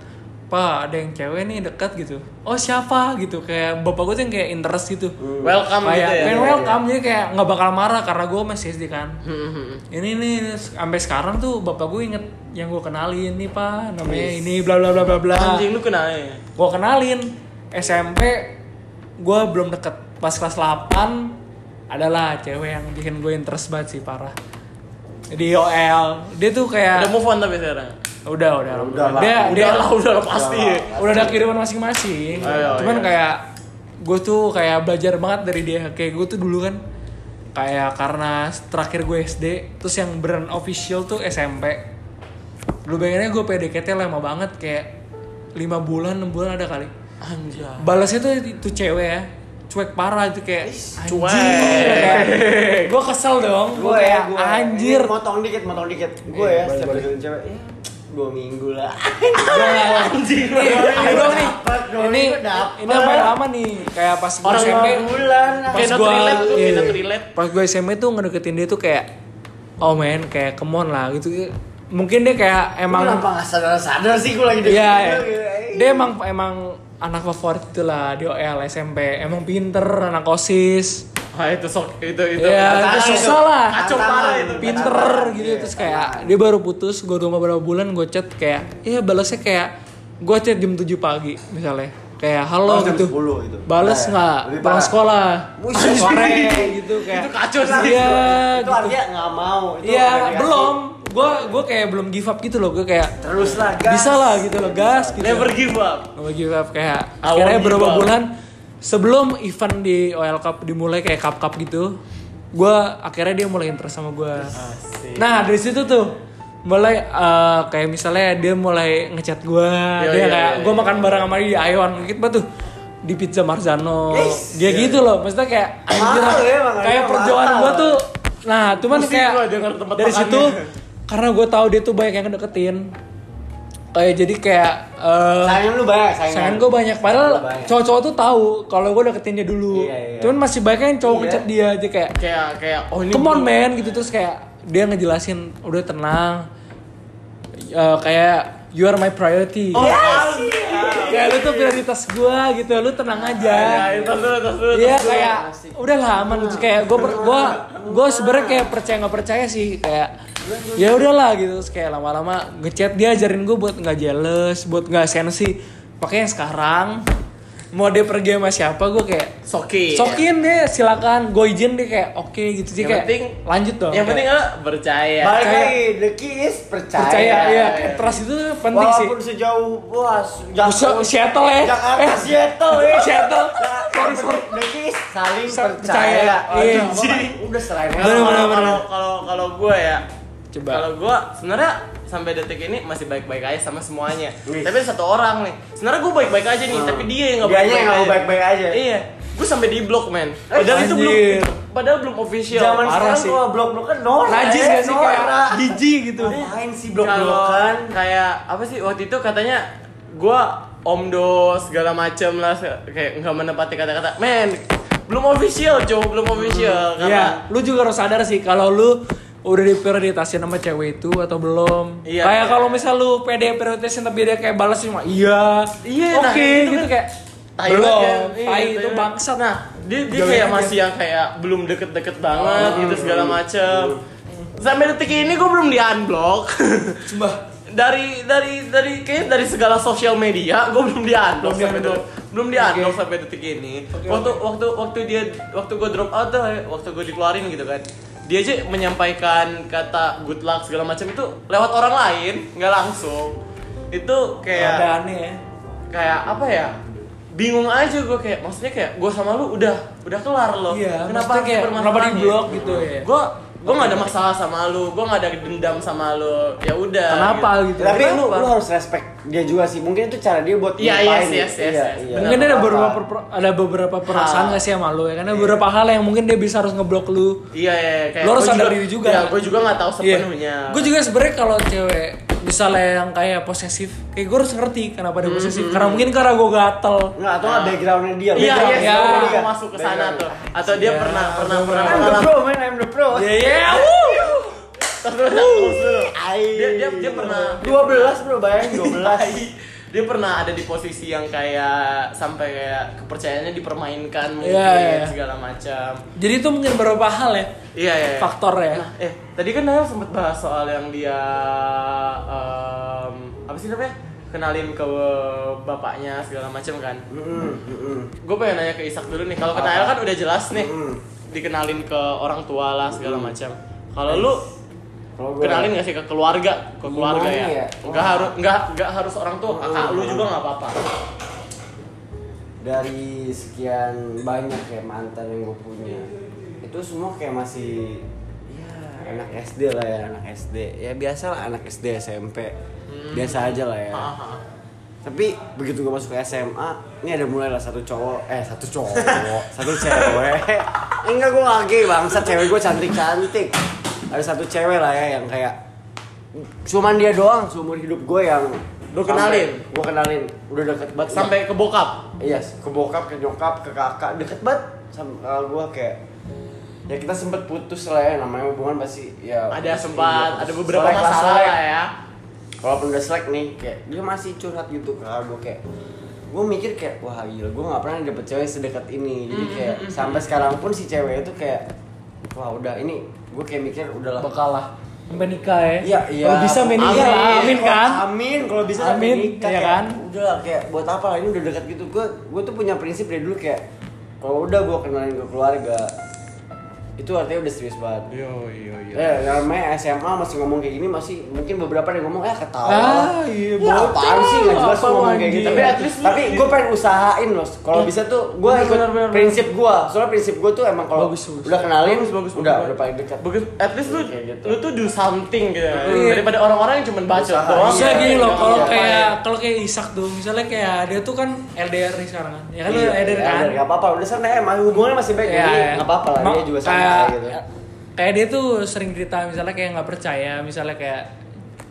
Speaker 3: Pak, ada yang cewek nih dekat gitu. Oh siapa gitu? Kayak bapak gue tuh yang kayak interest gitu.
Speaker 1: Welcome gitu
Speaker 3: kayak,
Speaker 1: ya?
Speaker 3: kayak
Speaker 1: Iya,
Speaker 3: welcome jadi kayak nggak bakal marah karena gue masih SD kan.
Speaker 1: Hmm, hmm, hmm.
Speaker 3: Ini nih sampai sekarang tuh bapak gue inget yang gue kenalin nih pak namanya ini bla bla bla bla bla
Speaker 1: anjing lu kenalnya ya?
Speaker 3: gue kenalin SMP gue belum deket pas kelas 8 adalah cewek yang bikin gue interest banget sih parah di OL dia
Speaker 1: udah
Speaker 3: tuh kayak
Speaker 1: move on tapi sekarang
Speaker 3: udah udah
Speaker 2: Udah lah.
Speaker 3: dia
Speaker 1: udah
Speaker 3: dia
Speaker 1: lah udah lah pasti ya.
Speaker 3: udah ada kiriman masing-masing
Speaker 1: Ayo, iya.
Speaker 3: cuman kayak gue tuh kayak belajar banget dari dia kayak gue tuh dulu kan kayak karena terakhir gue SD terus yang brand official tuh SMP dulu bayangannya gue PDKT lama banget kayak 5 bulan 6 bulan ada kali
Speaker 1: anjay
Speaker 3: balasnya tuh itu cewek ya cuek parah itu kayak
Speaker 2: Ish,
Speaker 3: anjing,
Speaker 1: cuek.
Speaker 3: kayak, Gua kesel dong. Gua
Speaker 2: gue
Speaker 3: kayak
Speaker 2: ya gue
Speaker 3: anjir.
Speaker 2: motong dikit motong dikit gue
Speaker 3: Iya,
Speaker 2: ya
Speaker 3: balik,
Speaker 2: setiap
Speaker 3: balik.
Speaker 2: deketin cewek ya, dua minggu lah
Speaker 1: anjing
Speaker 3: Ini ada dong nih.
Speaker 2: Dapat, dong,
Speaker 3: Ini
Speaker 2: itu dapat.
Speaker 3: ini apa yang lama nih? Kayak pas gua
Speaker 1: Orang
Speaker 3: SMP.
Speaker 2: dua bulan
Speaker 3: Pas
Speaker 1: Cannot
Speaker 3: gua
Speaker 1: relate, lu
Speaker 3: iya.
Speaker 1: cannot relate.
Speaker 3: Pas gua SMP tuh ngedeketin dia tuh kayak oh man kayak come on lah gitu. Mungkin dia kayak
Speaker 2: emang
Speaker 3: emang
Speaker 2: kenapa nggak sadar sadar sih gue lagi
Speaker 3: Iya,
Speaker 2: deketin lu,
Speaker 3: iya.
Speaker 2: gitu, eh.
Speaker 3: dia emang emang anak favorit itu lah di OL SMP. Emang pinter, anak osis,
Speaker 1: Wah Ah, itu sok itu
Speaker 2: Gitu.
Speaker 1: itu.
Speaker 3: Iya,
Speaker 1: Tantangan
Speaker 3: itu susah lah.
Speaker 1: Kacau parah itu.
Speaker 3: pinter
Speaker 2: Tantangan,
Speaker 3: gitu.
Speaker 2: iya,
Speaker 3: Terus kayak dia baru putus, gue rumah beberapa bulan, gue chat kayak, iya balasnya kayak gue chat jam 7 pagi misalnya, kayak halo
Speaker 2: Oh, jam
Speaker 3: gitu.
Speaker 2: 10 gitu.
Speaker 3: Balas
Speaker 2: Nah,
Speaker 3: nggak?
Speaker 2: lebih
Speaker 3: Pulang
Speaker 2: parah.
Speaker 3: sekolah,
Speaker 2: Wih, kan
Speaker 3: sore gitu kayak.
Speaker 1: Itu kacau sih.
Speaker 3: Iya,
Speaker 2: itu
Speaker 3: gitu.
Speaker 2: artinya nggak mau itu
Speaker 3: Iya,
Speaker 2: komunikasi.
Speaker 3: belum. Gue gue kayak belum give up gitu loh, gue kayak
Speaker 2: terus lah gas.
Speaker 3: bisa lah gitu loh, gas gitu.
Speaker 1: Never give up.
Speaker 3: Gak mau give up gitu, kayak
Speaker 1: I won't
Speaker 3: akhirnya
Speaker 1: give
Speaker 3: beberapa
Speaker 1: up.
Speaker 3: bulan sebelum event di OL Cup dimulai kayak cup cup gitu, gue akhirnya dia mulai interest sama gue.
Speaker 1: Asik.
Speaker 3: Nah dari situ tuh mulai eh, kayak misalnya dia mulai ngechat gue,
Speaker 1: Iya,
Speaker 3: dia
Speaker 1: iya,
Speaker 3: kayak
Speaker 1: iya,
Speaker 3: gue
Speaker 1: iya.
Speaker 3: makan bareng sama dia di Ayon gitu bah tuh di pizza Marzano,
Speaker 2: Yes.
Speaker 3: dia gitu loh, maksudnya kayak anjir,
Speaker 2: Mahal ya, Bang Ayon,
Speaker 3: kayak perjuangan
Speaker 2: mahal.
Speaker 3: gue tuh, nah cuman
Speaker 1: Pusing
Speaker 3: kayak
Speaker 1: gua denger tempat
Speaker 3: dari
Speaker 1: makannya.
Speaker 3: situ karena gue tahu dia tuh banyak yang deketin, kayak jadi kayak eh,
Speaker 2: sayang lu banyak sayang
Speaker 3: Sayangan gue banyak padahal
Speaker 2: Iya. Banyak.
Speaker 3: cowok-cowok tuh tahu kalau gue deketin dia dulu.
Speaker 2: Iya, iya.
Speaker 3: Cuman masih banyak yang cowok
Speaker 2: Iya.
Speaker 3: ngechat dia aja kayak
Speaker 1: Kayak kayak oh ini.
Speaker 3: come on
Speaker 1: gua-
Speaker 3: man gitu terus kayak dia ngejelasin udah tenang Eh, kayak you are my priority.
Speaker 1: Oh,
Speaker 3: Kayak lu tuh prioritas gue gitu, lu tenang aja.
Speaker 1: Ya, itu dulu, itu dulu.
Speaker 3: Iya
Speaker 1: itu dulu.
Speaker 3: kayak udah lah aman gitu kayak gue gue gue sebenarnya kayak percaya nggak percaya sih kayak ya udahlah gitu Terus kayak lama-lama ngechat dia ajarin gue buat nggak jealous buat nggak sensi makanya sekarang mau dia pergi sama siapa gue kayak
Speaker 1: Soki.
Speaker 3: sokin deh silakan gue izin deh kayak oke gitu sih
Speaker 1: Iya. Yang
Speaker 3: kayak
Speaker 1: penting
Speaker 3: lanjut dong
Speaker 1: Yang
Speaker 3: Kayak
Speaker 1: penting adalah percaya.
Speaker 2: balik
Speaker 3: Kayak-
Speaker 2: lagi the key is percaya
Speaker 3: percaya ya trust itu penting sih
Speaker 2: Iya, walaupun sejauh wah
Speaker 3: Se-
Speaker 2: jauh
Speaker 3: Seattle ya
Speaker 2: Jakarta
Speaker 3: Eh,
Speaker 2: Seattle ya
Speaker 3: Seattle sorry sorry
Speaker 2: Jadi saling
Speaker 3: Sa-
Speaker 2: percaya.
Speaker 3: percaya. Iya.
Speaker 2: Aduh, Bapak, Udah selain
Speaker 1: Kalau-
Speaker 3: Bener,
Speaker 1: kalau-
Speaker 3: bener,
Speaker 1: kalau kalau kalau gue ya
Speaker 3: Coba.
Speaker 1: kalau gue sebenarnya sampai detik ini masih baik-baik aja sama semuanya
Speaker 2: Wih.
Speaker 1: tapi ada satu orang nih sebenarnya gue baik-baik aja nih tapi dia yang nggak
Speaker 2: Hmm.
Speaker 1: baik-baik
Speaker 2: Dianya yang nggak
Speaker 1: aja.
Speaker 2: baik-baik aja.
Speaker 1: iya gue sampai di blok men padahal itu belum
Speaker 3: Anjir.
Speaker 1: padahal belum official
Speaker 2: Zaman
Speaker 3: parah
Speaker 2: sekarang
Speaker 3: sih.
Speaker 2: gua blok-blokan norak.
Speaker 3: najis gak sih kayak
Speaker 2: Norak.
Speaker 3: jijik gitu
Speaker 2: Ngapain sih
Speaker 1: Kalau
Speaker 2: blok-blokan?
Speaker 1: kayak apa sih waktu itu katanya gue omdo segala macem lah kayak nggak menepati kata-kata men belum official cowok belum official
Speaker 2: Hmm.
Speaker 1: karena
Speaker 3: Iya, lu juga harus sadar sih kalau lu udah diprioritasin sama cewek itu atau belum.
Speaker 1: Iya.
Speaker 3: kayak kalau misal lu pede prioritasin tapi dia kayak balas cuma iya.
Speaker 1: Iya,
Speaker 3: Oke,
Speaker 1: nah, itu
Speaker 3: gitu
Speaker 1: kan
Speaker 3: kayak
Speaker 1: Tai
Speaker 3: belum.
Speaker 1: banget kan? Iya,
Speaker 3: Tai
Speaker 1: tai
Speaker 3: itu
Speaker 1: banget.
Speaker 3: bangsat. ya.
Speaker 1: Nah, dia dia
Speaker 3: Jauhin
Speaker 1: kayak
Speaker 3: aja.
Speaker 1: masih yang kayak belum deket-deket banget
Speaker 3: Ah.
Speaker 1: gitu segala macem. Sampai detik ini gue belum di unblock.
Speaker 3: Cuma
Speaker 1: dari dari dari kayak dari segala sosial media gue belum di unblock
Speaker 3: Belum di
Speaker 1: sampai
Speaker 3: unblock.
Speaker 1: detik- belum di unblock sampai detik ini. waktu waktu waktu dia waktu gue drop out tuh, waktu gue dikeluarin gitu kan. Dia aja menyampaikan kata good luck segala macam itu lewat orang lain, nggak langsung. Itu kayak Iya,
Speaker 3: ada aneh ya.
Speaker 1: kayak apa ya bingung aja gue kayak maksudnya kayak gue sama lu udah udah kelar loh
Speaker 3: Iya,
Speaker 1: kenapa
Speaker 3: maksudnya
Speaker 1: harus
Speaker 3: kayak kenapa di blok gitu ya.
Speaker 1: gue gue nggak ada masalah sama lu gue nggak ada dendam sama lu ya udah
Speaker 3: Kenapa gitu?
Speaker 2: Tapi lu,
Speaker 1: Kenapa?
Speaker 2: lu harus respect dia juga sih. Mungkin itu cara dia buat
Speaker 1: Iya,
Speaker 2: ngelupain
Speaker 1: yes,
Speaker 2: gitu.
Speaker 1: yes, yes, yes.
Speaker 3: Mungkin dia ada
Speaker 2: Apa-apa.
Speaker 3: beberapa per- ada beberapa
Speaker 1: Ah.
Speaker 3: perasaan gak sih sama lu ya? Karena beberapa hal yang mungkin dia bisa harus ngeblok lu.
Speaker 1: iya ya kayak
Speaker 3: Lu harus
Speaker 1: gua
Speaker 3: sadar diri juga.
Speaker 1: ya gue juga nggak tahu sepenuhnya
Speaker 3: Gue juga sebenarnya kalau cewek misalnya yang kayak posesif, kayak gue harus ngerti kenapa
Speaker 1: Hmm,
Speaker 3: dia posesif. Karena mungkin karena gue gatel.
Speaker 2: Enggak, atau nggak backgroundnya dia.
Speaker 1: iya iya
Speaker 2: background
Speaker 1: iya
Speaker 2: dia.
Speaker 1: mau masuk ke sana tuh atau dia
Speaker 3: Iya.
Speaker 1: pernah pernah pernah
Speaker 2: I'm the
Speaker 1: mengalami
Speaker 2: pro, man. I'm the pro.
Speaker 1: Iya,
Speaker 3: Ya ya, wuh.
Speaker 1: Terus dulu, terus dulu.
Speaker 2: Ai.
Speaker 1: Dia- dia- dia pernah-
Speaker 2: 12, Bro. Bayangin 12.
Speaker 1: dia pernah ada di posisi yang kayak sampai kayak kepercayaannya dipermainkan mungkin
Speaker 3: Iya, iya.
Speaker 1: segala macam
Speaker 3: Jadi itu mungkin beberapa hal ya
Speaker 1: Iya, iya. iya.
Speaker 3: faktornya.
Speaker 1: Nah, eh tadi kan Naya sempat bahas soal yang dia em, apa sih namanya? Kenalin ke bapaknya segala macam kan.
Speaker 2: Mm, mm, mm.
Speaker 1: Gue pengen nanya ke Isak dulu nih. Kalau ke Nael kan udah jelas nih.
Speaker 2: Mm.
Speaker 1: Dikenalin ke orang tua lah segala macam. Kalau lu
Speaker 2: Kalau gua-
Speaker 1: kenalin gak sih ke keluarga? Ke keluarga ya.
Speaker 2: Gimana ya?
Speaker 1: Enggak harus enggak enggak harus orang tua, kakak lu juga nggak apa-apa.
Speaker 2: dari sekian banyak ya mantan yang gue punya itu semua kayak masih ya anak SD lah ya anak SD ya biasa lah anak SD SMP biasa aja lah ya
Speaker 1: Hmm. Ah, ah.
Speaker 2: tapi begitu gue masuk ke SMA ini ada mulai lah satu cowok eh satu cowok satu cewek enggak gue gak gay bangsa cewek gue cantik cantik ada satu cewek lah ya yang kayak cuman dia doang seumur hidup gue yang
Speaker 1: Lu kenalin?
Speaker 2: gue kenalin udah deket banget
Speaker 1: sampai ke bokap
Speaker 2: Iya, ke bokap, ke nyokap, ke kakak, deket banget sama kakak gua kayak Ya kita sempet putus lah ya, namanya hubungan pasti ya
Speaker 1: ada
Speaker 2: pasti
Speaker 1: sempat
Speaker 2: putus.
Speaker 1: ada beberapa
Speaker 2: Selek lah,
Speaker 1: masalah
Speaker 2: selek.
Speaker 1: lah ya
Speaker 2: Walaupun udah selek nih, kayak dia masih curhat gitu ke kakak gua kayak Gue mikir kayak, wah gila, gue gak pernah dapet cewek sedekat ini Jadi kayak, sampai sekarang pun si cewek itu kayak Wah udah, ini gue kayak mikir udahlah
Speaker 3: bakal lah sampai nikah ya
Speaker 2: Iya, iya.
Speaker 3: kalau bisa sampai
Speaker 1: Amin.
Speaker 3: nikah lah, amin kan
Speaker 2: Amin, kalau bisa
Speaker 3: Amin,
Speaker 2: sampai nikah
Speaker 3: iya
Speaker 2: kayak,
Speaker 3: kan?
Speaker 2: Udah lah, kayak buat apa lah ini udah dekat gitu. Gue gue tuh punya prinsip dari dulu kayak kalau udah gue kenalin ke keluarga itu artinya udah serius banget.
Speaker 1: yo yo yo
Speaker 2: Ya, namanya SMA masih ngomong kayak gini masih mungkin beberapa ada yang ngomong eh ketawa.
Speaker 3: Ah, iya,
Speaker 2: ya,
Speaker 3: bocah,
Speaker 2: apaan sih nggak jelas
Speaker 3: apa Iya.
Speaker 2: lu ngomong kayak
Speaker 3: lagi?
Speaker 2: gitu. Tapi at least tapi gue pengen usahain loh. Kalau bisa tuh gue
Speaker 3: bener,
Speaker 2: ikut
Speaker 3: bener, bener.
Speaker 2: prinsip gue. Soalnya prinsip gue tuh emang kalau
Speaker 3: Bagus, bagus.
Speaker 2: udah kenalin
Speaker 1: Bagus, bagus,
Speaker 2: udah
Speaker 1: bagus.
Speaker 2: udah paling dekat.
Speaker 1: Bagus, at least lu,
Speaker 2: Kayak gitu.
Speaker 1: lu tuh do something gitu ya.
Speaker 3: Iya.
Speaker 1: Daripada orang-orang yang cuma bacot
Speaker 2: Usaha.
Speaker 1: doang. ya.
Speaker 3: bisa
Speaker 2: Iya,
Speaker 3: gini
Speaker 2: iya,
Speaker 3: loh
Speaker 2: iya,
Speaker 3: kalau
Speaker 2: iya,
Speaker 3: kayak kalau kayak Isak tuh misalnya kayak dia tuh kan LDR nih sekarang kan ya kan lu LDR kan Iya,
Speaker 2: Gak apa-apa, Iya, udah sana ya, masih hubungannya masih baik, jadi gak apa-apa lah,
Speaker 3: Ma-
Speaker 2: dia juga santai
Speaker 3: kayak,
Speaker 2: gitu.
Speaker 3: kayak dia tuh sering cerita misalnya kayak nggak percaya misalnya kayak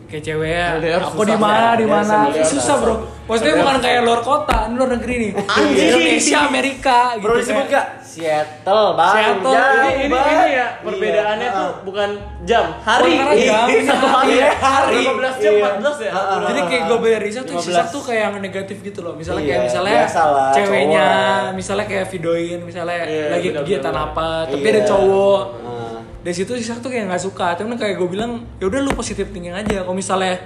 Speaker 3: kayak cewek ya,
Speaker 1: LDR
Speaker 3: aku
Speaker 1: susah,
Speaker 3: di mana
Speaker 1: ya.
Speaker 3: di
Speaker 1: LDR
Speaker 3: mana
Speaker 1: susah.
Speaker 3: susah bro maksudnya bukan kayak luar kota ini luar negeri nih
Speaker 1: Anjing.
Speaker 3: Indonesia Amerika gitu
Speaker 2: Bro disebut
Speaker 3: kayak-
Speaker 2: gak? Seattle, bang.
Speaker 3: Seattle,
Speaker 2: Jauh
Speaker 1: Ini, ini,
Speaker 2: Iya, banget.
Speaker 1: ini ya,
Speaker 2: Iya,
Speaker 1: perbedaannya
Speaker 2: ah.
Speaker 1: tuh bukan jam, hari.
Speaker 3: Bukan jam,
Speaker 1: Satu
Speaker 3: hari.
Speaker 1: hari.
Speaker 2: Iya,
Speaker 1: Hari.
Speaker 2: hari.
Speaker 1: 15 jam,
Speaker 2: Iya.
Speaker 1: 14 ya.
Speaker 2: Ah, ah,
Speaker 3: Jadi kayak gue bayar Risa tuh
Speaker 2: 15.
Speaker 3: sisa tuh kayak yang negatif gitu loh. Misalnya kayak
Speaker 2: Iya,
Speaker 3: misalnya
Speaker 2: biasa lah,
Speaker 3: ceweknya,
Speaker 2: cowok.
Speaker 3: misalnya kayak videoin, misalnya
Speaker 1: Iya,
Speaker 3: lagi
Speaker 1: benar-benar.
Speaker 3: kegiatan apa, tapi
Speaker 2: Iya.
Speaker 3: ada cowok.
Speaker 2: Ah.
Speaker 3: Dari situ sisa tuh kayak nggak suka. Cuman kayak gue bilang, ya udah lu positif thinking aja. Kalau misalnya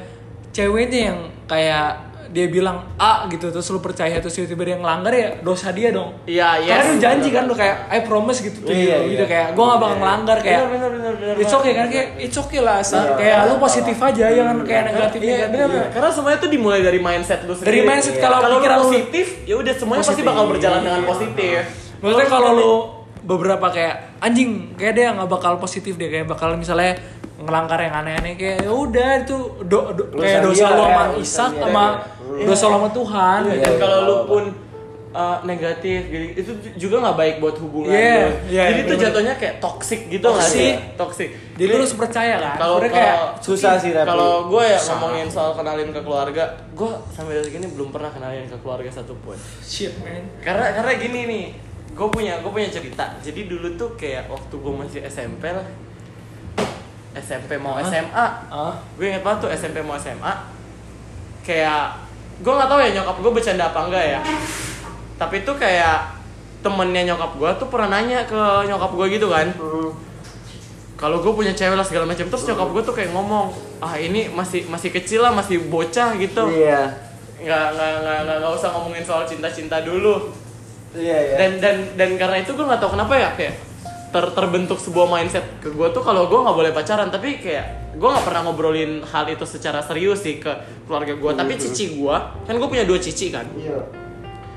Speaker 3: ceweknya yang kayak dia bilang A gitu terus lu percaya terus tiba-tiba dia ngelanggar ya dosa dia dong.
Speaker 1: Iya, iya.
Speaker 3: Karena lu janji kan lu kayak I promise gitu tuh
Speaker 2: Iya, iya.
Speaker 3: gitu kayak gue gak bakal ngelanggar kayak
Speaker 1: Benar, benar, benar, benar.
Speaker 3: it's okay kan kayak it's okay lah Sa.
Speaker 2: Iya.
Speaker 3: kayak lu positif aja jangan kayak negatif
Speaker 1: Iya,
Speaker 3: negatif.
Speaker 1: benar benar. Karena semuanya tuh dimulai dari mindset lu sendiri.
Speaker 3: Dari mindset,
Speaker 1: Iya.
Speaker 3: kalau
Speaker 1: lu
Speaker 3: pikiran lu-
Speaker 1: positif, ya udah semuanya pasti
Speaker 3: Positif.
Speaker 1: bakal berjalan dengan positif.
Speaker 3: Maksudnya kalau lu beberapa kayak anjing kayak dia nggak bakal positif deh kayak bakal misalnya ngelanggar yang aneh-aneh kayak ya udah itu do, do-
Speaker 2: Dosa
Speaker 3: kayak dosa
Speaker 2: dia,
Speaker 3: lu
Speaker 2: ya,
Speaker 3: sama
Speaker 2: dosa
Speaker 3: Ishak
Speaker 2: dia.
Speaker 3: sama
Speaker 2: Iya.
Speaker 3: dosa lu sama Tuhan. gitu.
Speaker 1: Iya,
Speaker 2: Iya,
Speaker 1: dan
Speaker 2: iya,
Speaker 1: kalau lu
Speaker 2: apa-apa.
Speaker 1: pun uh, negatif gitu itu ju- juga nggak baik buat hubungan
Speaker 3: Iya,
Speaker 1: lu.
Speaker 3: iya,
Speaker 1: jadi tuh
Speaker 3: bener-bener.
Speaker 1: jatuhnya kayak toxic gitu nggak sih
Speaker 3: Toxic.
Speaker 1: toxic
Speaker 3: Jadi lu harus percaya kan.
Speaker 1: kalau
Speaker 3: Sebenarnya
Speaker 1: kayak
Speaker 2: susah sih tapi.
Speaker 1: kalau gue ya ngomongin soal kenalin ke keluarga gue sampai detik ini belum pernah kenalin ke keluarga satupun
Speaker 3: shit man.
Speaker 1: karena karena gini nih gue punya gue punya cerita jadi dulu tuh kayak waktu gue masih SMP lah SMP mau
Speaker 3: Hah?
Speaker 1: SMA
Speaker 3: Ah,
Speaker 1: gue inget banget tuh SMP mau SMA kayak gue nggak tahu ya nyokap gue bercanda apa enggak ya tapi itu kayak temennya nyokap gue tuh pernah nanya ke nyokap gue gitu kan kalau gue punya cewek lah segala macam terus nyokap gue tuh kayak ngomong ah ini masih masih kecil lah masih bocah gitu
Speaker 2: Iya.
Speaker 1: nggak nggak nggak nggak- nggak usah ngomongin soal cinta cinta dulu
Speaker 2: Iya, iya.
Speaker 1: dan dan dan karena itu gue nggak tahu kenapa ya kayak ter- terbentuk sebuah mindset ke gue tuh kalau gue nggak boleh pacaran tapi kayak gue nggak pernah ngobrolin hal itu secara serius sih ke keluarga gue tapi cici gue kan gue punya dua cici kan
Speaker 2: Iya.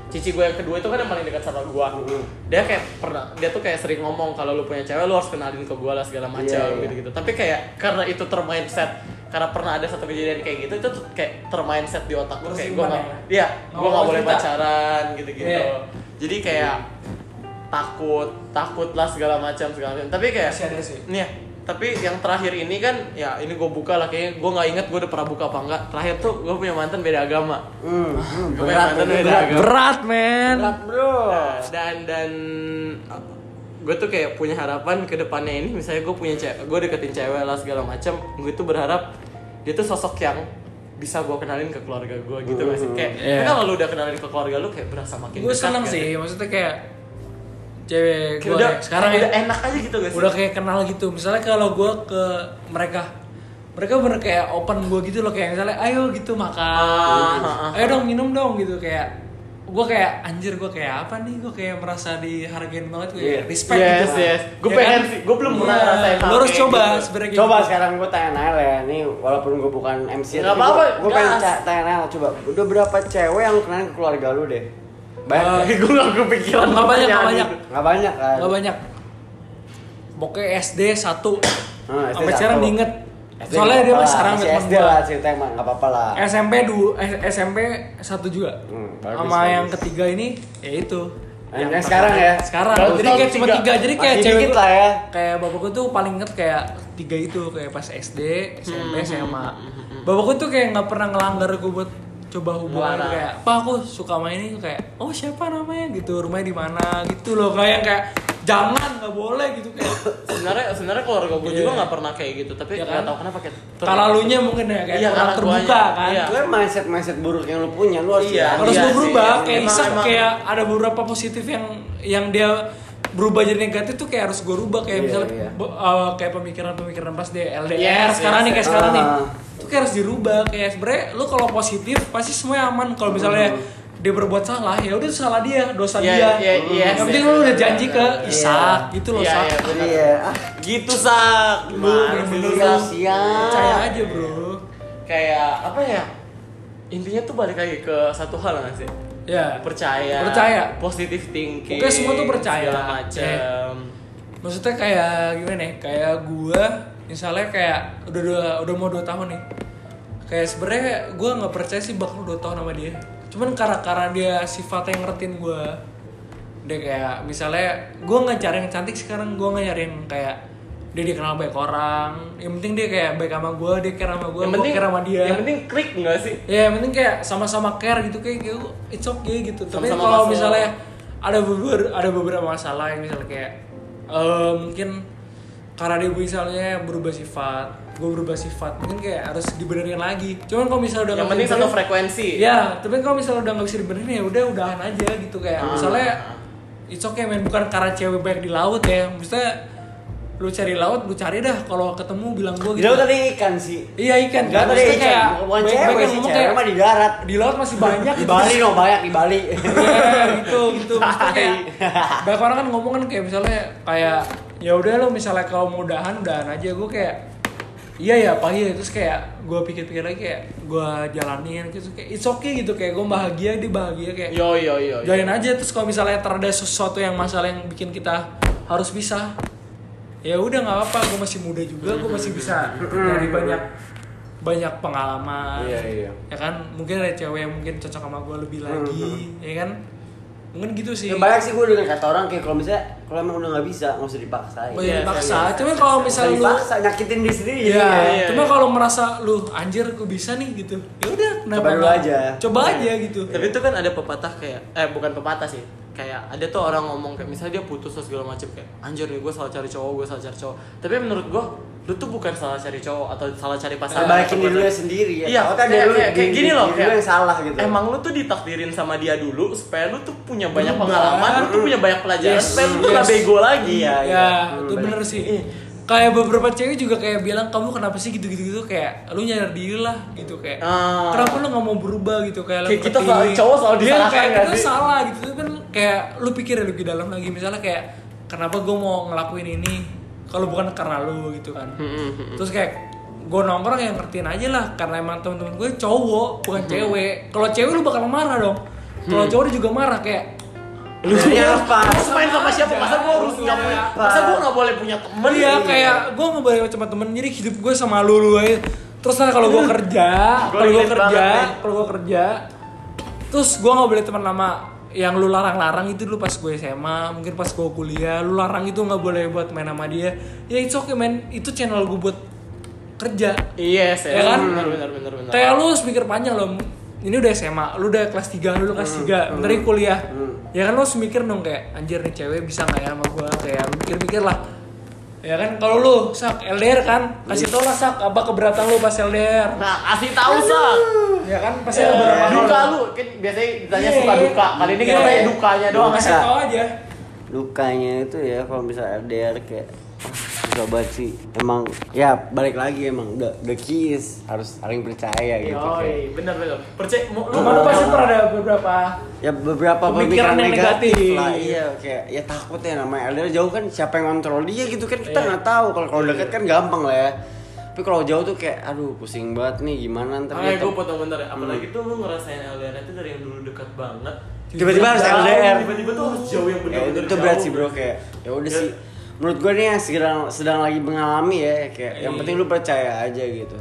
Speaker 1: cici gue yang kedua itu kan yang paling dekat sama gue
Speaker 2: Mm-hmm.
Speaker 1: dia kayak pernah dia tuh kayak sering ngomong kalau lu punya cewek lu harus kenalin ke gue lah segala macam
Speaker 2: Iya, iya.
Speaker 1: gitu gitu tapi kayak karena itu termindset karena pernah ada satu kejadian kayak gitu itu tuh kayak termindset di otak gue
Speaker 3: Terus
Speaker 1: kayak gue
Speaker 3: gimana
Speaker 1: nggak
Speaker 3: ya?
Speaker 1: iya gue
Speaker 3: Nggak
Speaker 1: nggak
Speaker 3: mau
Speaker 1: boleh
Speaker 3: cerita?
Speaker 1: pacaran gitu gitu
Speaker 3: Iya.
Speaker 1: jadi kayak takut takut lah segala macam segala macam tapi kayak
Speaker 3: Masih ada sih.
Speaker 1: nih ya, tapi yang terakhir ini kan ya ini gue buka lah kayaknya gue nggak inget gue udah pernah buka apa enggak terakhir tuh gue punya mantan beda agama
Speaker 2: Hmm, hmm,
Speaker 1: Gue
Speaker 2: berat,
Speaker 1: pengen
Speaker 2: ini
Speaker 1: mantan
Speaker 2: berat.
Speaker 1: beda agama.
Speaker 3: Berat man.
Speaker 2: Berat, bro.
Speaker 1: Nah, dan dan gue tuh kayak punya harapan ke depannya ini misalnya gue punya cewek gue deketin cewek lah segala macam gue tuh berharap dia tuh sosok yang bisa gue kenalin ke keluarga gue gitu nggak sih kayak
Speaker 3: Iya.
Speaker 1: kan kalau lu udah kenalin ke keluarga lu kayak berasa makin
Speaker 3: Gue
Speaker 1: dekat
Speaker 3: seneng
Speaker 1: nggak
Speaker 3: sih maksudnya kayak cewek
Speaker 1: Kayak
Speaker 3: gue
Speaker 1: udah
Speaker 3: sekarang ya
Speaker 1: udah enak aja gitu gak sih
Speaker 3: udah kayak kenal gitu misalnya kalau gue ke mereka mereka bener kayak open gue gitu loh kayak misalnya ayo gitu makan
Speaker 1: Ah, ah, ah.
Speaker 3: ayo dong minum dong gitu kayak gue kayak anjir gue kayak apa nih gue kayak merasa dihargain banget gue
Speaker 2: Iya.
Speaker 3: respect
Speaker 1: Yes,
Speaker 3: gitu
Speaker 1: yes. Gue
Speaker 3: Ya
Speaker 1: pengen sih, gue belum pernah
Speaker 3: Iya.
Speaker 1: ngerasain hal
Speaker 3: Lo harus
Speaker 1: kayak
Speaker 3: coba
Speaker 1: gitu.
Speaker 3: sebenarnya kayak
Speaker 2: Coba
Speaker 3: gitu.
Speaker 2: sekarang gue tanya Nael ya, ini walaupun gue bukan MC
Speaker 1: Nggak apa-apa,
Speaker 2: gue pengen
Speaker 1: gas.
Speaker 2: ca- tanya Nael, coba udah berapa cewek yang lu kenalin ke keluarga lu deh? Banyak ya?
Speaker 3: Eh,
Speaker 2: nggak?
Speaker 1: gue gak kepikiran
Speaker 3: Nggak banyak, nggak
Speaker 1: pertanyaan
Speaker 3: banyak.
Speaker 1: itu.
Speaker 2: Nggak banyak kan?
Speaker 3: gak banyak pokoknya SD satu
Speaker 2: Ah, SD
Speaker 3: sampai sekarang
Speaker 2: satu.
Speaker 3: diinget
Speaker 2: SD
Speaker 3: Soalnya
Speaker 2: nggak
Speaker 3: dia
Speaker 2: apa-apa
Speaker 3: masih
Speaker 2: lah,
Speaker 3: sarang
Speaker 2: masih
Speaker 3: sama
Speaker 2: SD
Speaker 3: gua.
Speaker 2: lah cerita emang nggak apa-apa lah
Speaker 3: SMP du eh, SMP satu juga
Speaker 2: Hmm, bagus,
Speaker 3: sama
Speaker 2: bagus.
Speaker 3: yang ketiga ini ya itu
Speaker 2: yang, yang sekarang ya
Speaker 3: sekarang
Speaker 1: Berarti
Speaker 3: jadi
Speaker 1: tahun
Speaker 3: kayak cuma
Speaker 1: tiga.
Speaker 3: tiga jadi kayak
Speaker 2: masih
Speaker 3: cewek
Speaker 2: dikit lah ya
Speaker 3: kayak bapak gue tuh paling inget kayak tiga itu kayak pas SD
Speaker 1: Hmm,
Speaker 3: SMP SMA bapak gue tuh kayak nggak pernah ngelanggar gue buat coba hubungan
Speaker 1: Melarang.
Speaker 3: kayak pak aku suka main ini kayak oh siapa namanya gitu rumahnya di mana gitu loh kayak kayak jangan nggak boleh gitu kayak
Speaker 1: sebenarnya sebenarnya keluarga gue juga
Speaker 3: Iya.
Speaker 1: nggak pernah kayak gitu tapi
Speaker 3: Iya
Speaker 1: nggak
Speaker 3: kan?
Speaker 1: tahu kenapa kayak ter-
Speaker 3: kalalunya mungkin ya kayak
Speaker 1: Iya,
Speaker 3: kurang
Speaker 1: karena
Speaker 3: terbuka
Speaker 1: tuanya.
Speaker 3: kan
Speaker 1: Iya.
Speaker 2: itu kan mindset mindset buruk yang lu punya lu harus
Speaker 1: Iya.
Speaker 2: hilangin.
Speaker 3: harus
Speaker 1: Iya
Speaker 3: lu
Speaker 1: sih,
Speaker 3: berubah
Speaker 1: iya.
Speaker 3: kayak
Speaker 1: Emang-
Speaker 3: Isak
Speaker 1: emang.
Speaker 3: kayak ada beberapa positif yang yang dia berubah jadi negatif tuh kayak harus gue rubah
Speaker 2: Iya,
Speaker 3: kayak misalnya
Speaker 2: iya.
Speaker 3: bo- uh, kayak pemikiran-pemikiran pas dia LDR
Speaker 1: Yes,
Speaker 3: sekarang
Speaker 1: yes,
Speaker 3: nih kayak
Speaker 1: yes.
Speaker 3: sekarang nih
Speaker 2: Ah.
Speaker 3: itu kayak harus dirubah kayak sebenernya lu kalau positif pasti semuanya aman kalau misalnya dia berbuat salah ya udah itu salah dia dosa
Speaker 1: Hmm. Iya,
Speaker 3: dia
Speaker 1: iya, iya,
Speaker 3: yang
Speaker 1: yes,
Speaker 3: penting
Speaker 1: yes,
Speaker 3: lu
Speaker 1: yes,
Speaker 3: udah
Speaker 1: yes,
Speaker 3: janji
Speaker 1: yes,
Speaker 3: ke
Speaker 1: yes.
Speaker 3: Isak gitu loh
Speaker 1: Iya,
Speaker 3: Sak
Speaker 1: iya, Ah, benar.
Speaker 2: iya ah,
Speaker 1: gitu sak
Speaker 3: Lu
Speaker 1: Gimana
Speaker 3: bener-bener
Speaker 1: sih,
Speaker 3: lu
Speaker 1: Sak?
Speaker 2: siap.
Speaker 3: percaya aja bro
Speaker 1: kayak apa ya intinya tuh balik lagi ke satu hal nggak sih
Speaker 3: ya
Speaker 1: percaya
Speaker 3: Percaya.
Speaker 1: positive thinking
Speaker 3: Pokoknya semua tuh percaya. Eh,
Speaker 1: segala macam
Speaker 3: maksudnya kayak gimana nih kayak gua misalnya kayak udah dua, udah mau dua tahun nih kayak sebenarnya gua nggak percaya sih bakal dua tahun sama dia cuman karena karena dia sifatnya ngertiin gua dia kayak misalnya gua nggak cari yang cantik sekarang gua nggak nyari yang kayak dia dikenal baik orang yang penting dia kayak baik sama gua dia care sama gua
Speaker 1: yang
Speaker 3: gua
Speaker 1: penting
Speaker 3: care sama dia
Speaker 1: yang penting klik nggak sih
Speaker 3: Ya yang penting kayak sama-sama care gitu kayak kayak it's okay gitu. Tapi
Speaker 1: Sama-sama
Speaker 3: kalau
Speaker 1: masuk.
Speaker 3: misalnya ada beberapa ada beberapa masalah yang misalnya kayak eh, mungkin karena dia misalnya berubah sifat, gue berubah sifat, mungkin kayak harus dibenerin lagi. Cuman kalau misalnya
Speaker 1: yang
Speaker 3: udah nggak
Speaker 1: penting
Speaker 3: bisa
Speaker 1: satu
Speaker 3: dibenerin-
Speaker 1: frekuensi
Speaker 3: Ya, tapi kalau misalnya udah nggak bisa dibenerin ya udah udahan aja gitu kayak
Speaker 2: Ah.
Speaker 3: misalnya it's okay men bukan karena cewek banyak di laut ya. Maksudnya lu cari laut, lu cari dah. Kalau ketemu bilang gue gitu.
Speaker 2: Jadi lu tadi ikan sih
Speaker 3: Iya ikan.
Speaker 2: Enggak tadi ikan
Speaker 3: Maksudnya
Speaker 2: bukan
Speaker 3: banyak- banyak
Speaker 2: cewek
Speaker 3: yang
Speaker 2: sih
Speaker 3: ngomong
Speaker 2: cewek
Speaker 3: kayak-
Speaker 2: mah di darat
Speaker 3: di laut masih banyak
Speaker 2: di
Speaker 3: gitu.
Speaker 2: Bali dong banyak di Bali
Speaker 3: Iya, gitu gitu Maksudnya kayak banyak orang kan ngomong kan kayak misalnya kayak ya udah lo misalnya kalau mau udahan udahan aja gue kayak iya ya pagi terus kayak gue pikir-pikir lagi kayak gue jalanin gitu kayak it's okay gitu kayak gue bahagia dia bahagia kayak
Speaker 2: Iya.
Speaker 1: yo yo yo, yo.
Speaker 3: jalanin aja terus kalau misalnya terada sesuatu yang masalah yang bikin kita harus pisah ya udah nggak apa-apa gue masih muda juga gue masih bisa dari banyak banyak pengalaman
Speaker 2: Iya, iya.
Speaker 3: ya kan mungkin ada cewek yang mungkin cocok sama gue lebih lagi ya kan mungkin gitu
Speaker 2: Ya,
Speaker 3: sih
Speaker 2: banyak sih gue dengan kata orang kayak kalau misalnya kalau emang udah nggak bisa nggak usah dipaksain
Speaker 3: Banyak
Speaker 1: Iya,
Speaker 3: Oh, dipaksa
Speaker 1: iya, iya.
Speaker 3: cuman kalau
Speaker 2: Nggak usah
Speaker 3: misalnya lu
Speaker 2: dipaksa nyakitin diri sendiri
Speaker 3: Iya,
Speaker 2: jadinya.
Speaker 1: iya,
Speaker 3: cuma
Speaker 1: iya.
Speaker 3: kalau merasa lu anjir gue bisa nih gitu. Ya udah, kenapa
Speaker 2: Coba dulu
Speaker 3: nggak?
Speaker 2: aja.
Speaker 3: Coba aja gitu.
Speaker 1: tapi itu kan ada pepatah kayak eh bukan pepatah sih kayak ada tuh orang ngomong kayak misalnya dia putus terus segala macem kayak anjir nih gue salah cari cowok gue salah cari cowok tapi menurut gue lu tuh bukan salah cari cowok atau salah cari pasangan
Speaker 2: Perbaikin
Speaker 1: atau
Speaker 2: diri lu
Speaker 1: bukan-
Speaker 2: sendiri ya.
Speaker 1: iya
Speaker 2: Takutnya
Speaker 1: kayak,
Speaker 2: ada lu
Speaker 1: kayak,
Speaker 2: di-
Speaker 1: kayak gini
Speaker 2: di-
Speaker 1: loh
Speaker 2: diri lu
Speaker 1: kayak
Speaker 2: yang salah gitu.
Speaker 1: emang lu tuh ditakdirin sama dia dulu supaya lu tuh punya banyak
Speaker 3: Berubah.
Speaker 1: pengalaman lu tuh punya banyak pelajaran
Speaker 3: Yes.
Speaker 1: supaya lu tuh gak
Speaker 3: Yes.
Speaker 1: bego lagi
Speaker 2: Iya,
Speaker 3: ya
Speaker 1: Hmm,
Speaker 3: itu
Speaker 2: bener.
Speaker 3: bener sih kayak beberapa cewek juga kayak bilang kamu kenapa sih gitu gitu gitu kayak lu nyadar diri lah gitu kayak
Speaker 1: Ah.
Speaker 3: kenapa lu nggak mau berubah gitu kayak lu
Speaker 1: Kayak kita
Speaker 3: ngerti.
Speaker 1: selalu- cowok selalu
Speaker 3: Iya,
Speaker 1: disalahkan
Speaker 3: kayak
Speaker 1: nggak
Speaker 3: kita
Speaker 1: sih?
Speaker 3: salah gitu Tapi kan kayak lu pikir ya lebih dalam lagi misalnya kayak kenapa gue mau ngelakuin ini kalau bukan karena lu gitu kan
Speaker 1: Hmm,
Speaker 3: terus kayak gue nongkrong yang ngertiin aja lah karena emang temen-temen gue cowok
Speaker 1: Hmm,
Speaker 3: bukan cewek kalau cewek lu bakal marah dong kalau cowok dia juga marah kayak
Speaker 2: lu siapa?
Speaker 1: harus main sama siapa masa gue harus nggak punya masa gue nggak boleh punya temen
Speaker 3: Iya kayak gue nggak boleh sama temen jadi hidup gue sama lu lu aja. Terus ntar kalau gue kerja,
Speaker 1: Gua
Speaker 3: kalau gue
Speaker 1: relate
Speaker 3: kerja,
Speaker 1: banget, men.
Speaker 3: kalau gue kerja, terus gue nggak boleh teman lama yang lu larang-larang itu dulu pas gue SMA, mungkin pas gue kuliah, lu larang itu nggak boleh buat main sama dia. Ya it's okay men, itu channel gue buat kerja.
Speaker 1: Yes,
Speaker 3: Ya kan?
Speaker 1: benar benar benar benar.
Speaker 3: Kayak lu harus mikir panjang loh. Ini udah SMA, lu udah kelas 3, lu
Speaker 1: Hmm,
Speaker 3: udah kelas 3, bentar lagi kuliah. Ya kan lu harus mikir dong kayak anjir nih cewek bisa nggak ya sama gua kayak lu mikir-mikir lah. Ya kan kalau lu sak LDR kan, kasih tau lah sak apa keberatan lu pas LDR.
Speaker 1: Nah, kasih tahu sak.
Speaker 3: Ya kan pasti ada beberapa hal.
Speaker 1: Duka Eh, lu, kan biasanya ditanya
Speaker 3: Iya,
Speaker 1: suka
Speaker 3: iya.
Speaker 1: duka. Kali ini kita
Speaker 3: Iya.
Speaker 1: tanya dukanya doang.
Speaker 3: Kasih
Speaker 2: Sak.
Speaker 3: tau aja.
Speaker 2: lukanya itu ya kalau misalnya LDR kayak ah, susah banget sih emang ya balik lagi emang the, the key is harus saling percaya
Speaker 1: Yoi,
Speaker 2: gitu kayak.
Speaker 1: bener bener. Percaya, mau lu
Speaker 3: Cuma lu pasti pernah ada beberapa
Speaker 2: ya beberapa
Speaker 3: Pemikiran
Speaker 2: pemikiran,
Speaker 3: yang
Speaker 2: negatif,
Speaker 3: negatif.
Speaker 2: lah iya kayak ya takut ya namanya LDR jauh kan siapa yang kontrol dia gitu kan kita nggak tahu kalau kalau dekat kan gampang lah ya tapi kalau jauh tuh kayak aduh pusing banget nih gimana ntar
Speaker 1: Makanya
Speaker 2: dia
Speaker 1: gue
Speaker 2: tem-
Speaker 1: potong bentar ya. Apalagi tuh lu ngerasain LDR itu dari yang dulu dekat banget.
Speaker 2: tiba-tiba harus
Speaker 1: Jauh,
Speaker 2: LDR
Speaker 1: Tiba-tiba tuh harus jauh yang
Speaker 2: ya,
Speaker 1: bener-bener
Speaker 2: itu berat
Speaker 1: jauh.
Speaker 2: sih bro kayak ya udah
Speaker 1: Ya.
Speaker 2: sih menurut gue nih yang sedang sedang lagi mengalami ya kayak yang
Speaker 3: Iya.
Speaker 2: penting lu percaya aja gitu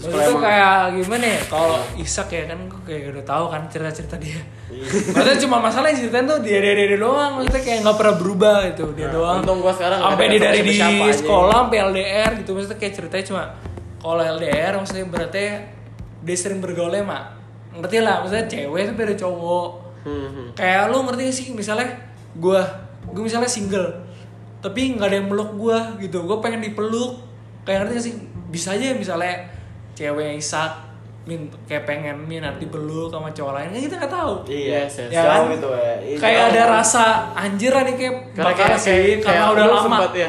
Speaker 2: terus
Speaker 3: Terus
Speaker 2: kalau
Speaker 3: itu
Speaker 2: emang
Speaker 3: kayak gimana ya kalau Isak ya kan gue kayak udah tahu kan cerita-cerita dia. Maksudnya cuma masalah yang ceritain tuh dia dia dia, dia doang, maksudnya kayak nggak pernah berubah gitu dia
Speaker 1: Nah,
Speaker 3: doang.
Speaker 1: untung gua sekarang nggak
Speaker 3: sampai di
Speaker 1: deket sama
Speaker 3: dari di
Speaker 1: siapa-siapa aja.
Speaker 3: sekolah sampai LDR gitu maksudnya kayak ceritanya cuma kalau LDR maksudnya berarti dia sering bergaulnya mak ngerti lah maksudnya cewek tapi ada cowok
Speaker 2: Hmm.
Speaker 3: kayak lu ngerti gak sih misalnya gua gua misalnya single tapi nggak ada yang meluk gua gitu gua pengen dipeluk kayak ngerti gak sih bisa aja misalnya cewek Isak min kayak pengen minat dipeluk sama cowok lain kan kita nggak tahu
Speaker 2: iya
Speaker 1: Yes, yes.
Speaker 2: ya
Speaker 3: kan?
Speaker 2: gitu ya Iya,
Speaker 3: kayak
Speaker 2: jauh.
Speaker 3: ada rasa anjir lah nih kayak
Speaker 1: karena
Speaker 3: bakal
Speaker 1: kayak,
Speaker 3: sih,
Speaker 1: kayak,
Speaker 3: karena
Speaker 1: kayak
Speaker 3: udah
Speaker 1: lu
Speaker 3: lama
Speaker 1: sempat ya.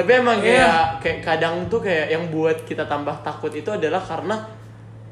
Speaker 1: tapi emang
Speaker 3: Iya.
Speaker 1: kayak kayak kadang tuh kayak yang buat kita tambah takut itu adalah karena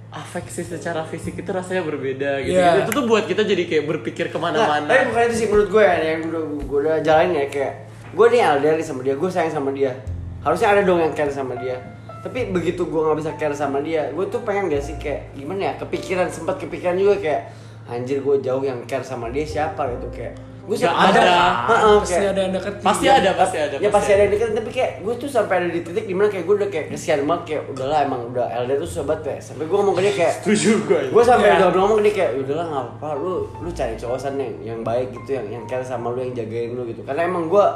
Speaker 1: afeksi secara fisik itu rasanya berbeda gitu,
Speaker 3: Iya.
Speaker 1: itu tuh buat kita jadi kayak berpikir
Speaker 2: Nah,
Speaker 1: kemana-mana
Speaker 2: tapi bukan itu sih menurut gue ya yang gue, gue udah jalanin ya kayak gue nih LDR nih sama dia, gue sayang sama dia. Harusnya ada dong yang care sama dia. Tapi begitu gue nggak bisa care sama dia, gue tuh pengen gak sih kayak gimana ya? Kepikiran sempat kepikiran juga kayak anjir gue jauh yang care sama dia siapa gitu kayak gue
Speaker 1: Gak
Speaker 2: siapa-
Speaker 1: ada.
Speaker 2: Heeh,
Speaker 3: pasti
Speaker 2: kayak-
Speaker 3: ada yang deketin
Speaker 1: pasti
Speaker 3: Ya.
Speaker 1: ada pasti ada
Speaker 2: ya pasti ada yang deket tapi kayak gue tuh sampai ada di titik dimana kayak gue udah kayak kesian banget kayak udahlah emang udah LDR tuh sobat kayak sampai gue ngomong ke dia kayak
Speaker 1: setuju gue
Speaker 2: gue sampai
Speaker 3: Iya.
Speaker 2: udah ngomong nih kayak udahlah nggak apa lu lu cari cowokan yang yang baik gitu yang yang care sama lu yang jagain lu gitu karena emang gue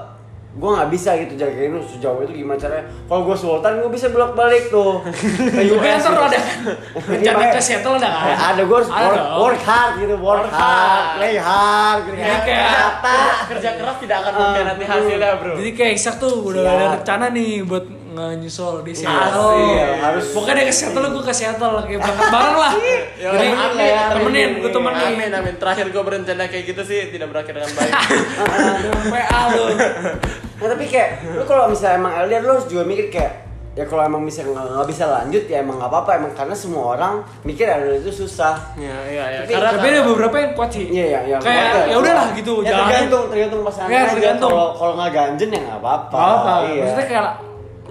Speaker 2: gue nggak bisa gitu jagain lu sejauh itu gimana caranya kalau gue sultan gue bisa bolak balik tuh ke
Speaker 3: Tapi
Speaker 2: US gitu.
Speaker 3: ntar ada
Speaker 2: Iya,
Speaker 3: rencana
Speaker 2: makanya-
Speaker 3: ke Seattle ada kan?
Speaker 2: Ya, ada gue harus work,
Speaker 3: dong.
Speaker 2: work hard gitu work,
Speaker 1: Work
Speaker 2: hard.
Speaker 1: hard.
Speaker 2: play hard gitu
Speaker 3: Jadi kayak-
Speaker 2: Ternyata-
Speaker 1: kerja keras tidak akan mengkhianati hasilnya bro
Speaker 3: Ah, Jadi kayak Isak tuh udah
Speaker 2: Siap.
Speaker 3: ada rencana nih buat nyusul di Seattle.
Speaker 1: Asik.
Speaker 2: Harus.
Speaker 3: Pokoknya dia ke Seattle, gue ke Seattle kayak berangkat bareng lah.
Speaker 1: Ya,
Speaker 3: Jadi
Speaker 1: amin,
Speaker 3: amin,
Speaker 2: ya, amin.
Speaker 3: temenin, gue temenin.
Speaker 1: amin amin terakhir gue berencana kayak gitu sih tidak berakhir dengan baik
Speaker 3: PA lu.
Speaker 2: Nah tapi kayak lu kalau misalnya emang LDR lu harus juga mikir kayak ya kalau emang bisa nggak nggak bisa lanjut ya emang nggak apa-apa emang karena semua orang mikir LDR itu susah.
Speaker 3: Iya,
Speaker 1: ya ya ya
Speaker 2: Tapi-
Speaker 1: karena
Speaker 3: Tapi ada beberapa yang kuat sih.
Speaker 2: Iya iya iya.
Speaker 3: Kayak
Speaker 2: Makanya-
Speaker 3: ya udahlah gitu,
Speaker 2: Ya,
Speaker 3: jalanin.
Speaker 2: tergantung tergantung pasangan.
Speaker 3: Iya,
Speaker 2: aja.
Speaker 3: tergantung.
Speaker 2: Kalau kalau nggak ganjen ya nggak apa-apa.
Speaker 3: Gak apa.
Speaker 2: Iya.
Speaker 3: Maksudnya kayak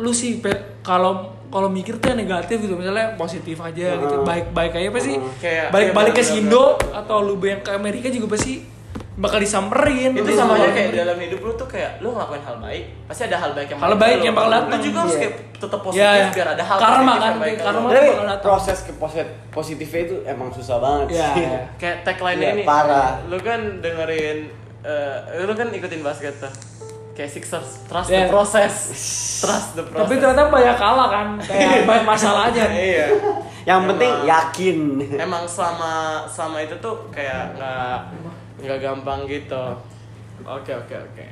Speaker 3: lu sih pe- kalau kalau mikir tuh yang negatif gitu misalnya positif aja gitu
Speaker 2: Hmm.
Speaker 3: baik-baik aja pasti
Speaker 2: Hmm.
Speaker 1: Kayak-
Speaker 3: balik-balik ke
Speaker 1: kayak
Speaker 3: Sindo atau lu yang ke Amerika juga pasti bakal disamperin
Speaker 1: itu
Speaker 3: Terus
Speaker 1: sama aja
Speaker 3: bakal-
Speaker 1: kayak dalam hidup lu tuh kayak lu ngelakuin hal baik pasti ada hal baik yang
Speaker 3: Hal
Speaker 1: balik
Speaker 3: baik
Speaker 1: ke lu.
Speaker 3: yang bakal
Speaker 1: lu
Speaker 3: datang.
Speaker 1: juga harus
Speaker 2: Iya.
Speaker 1: kayak tetap positif
Speaker 3: Iya, iya.
Speaker 1: biar ada hal
Speaker 3: Karma
Speaker 1: positif
Speaker 3: kan,
Speaker 1: yang baik ke
Speaker 3: karma.
Speaker 1: lu.
Speaker 2: Tapi
Speaker 3: bakal datang.
Speaker 2: proses ke posi- positifnya itu emang susah banget.
Speaker 3: Iya,
Speaker 2: sih.
Speaker 3: iya.
Speaker 1: kayak tagline
Speaker 2: Iya,
Speaker 1: ini
Speaker 2: parah.
Speaker 1: lu kan dengerin eh, lu kan ikutin basket tuh kayak Sixers trust
Speaker 3: Iya.
Speaker 1: the process trust the process
Speaker 3: Tapi ternyata banyak kalah kan, kayak banyak masalah aja.
Speaker 1: iya
Speaker 2: Yang penting
Speaker 1: Emang.
Speaker 2: yakin.
Speaker 1: emang selama selama itu tuh kayak nggak nggak gampang gitu oke oke oke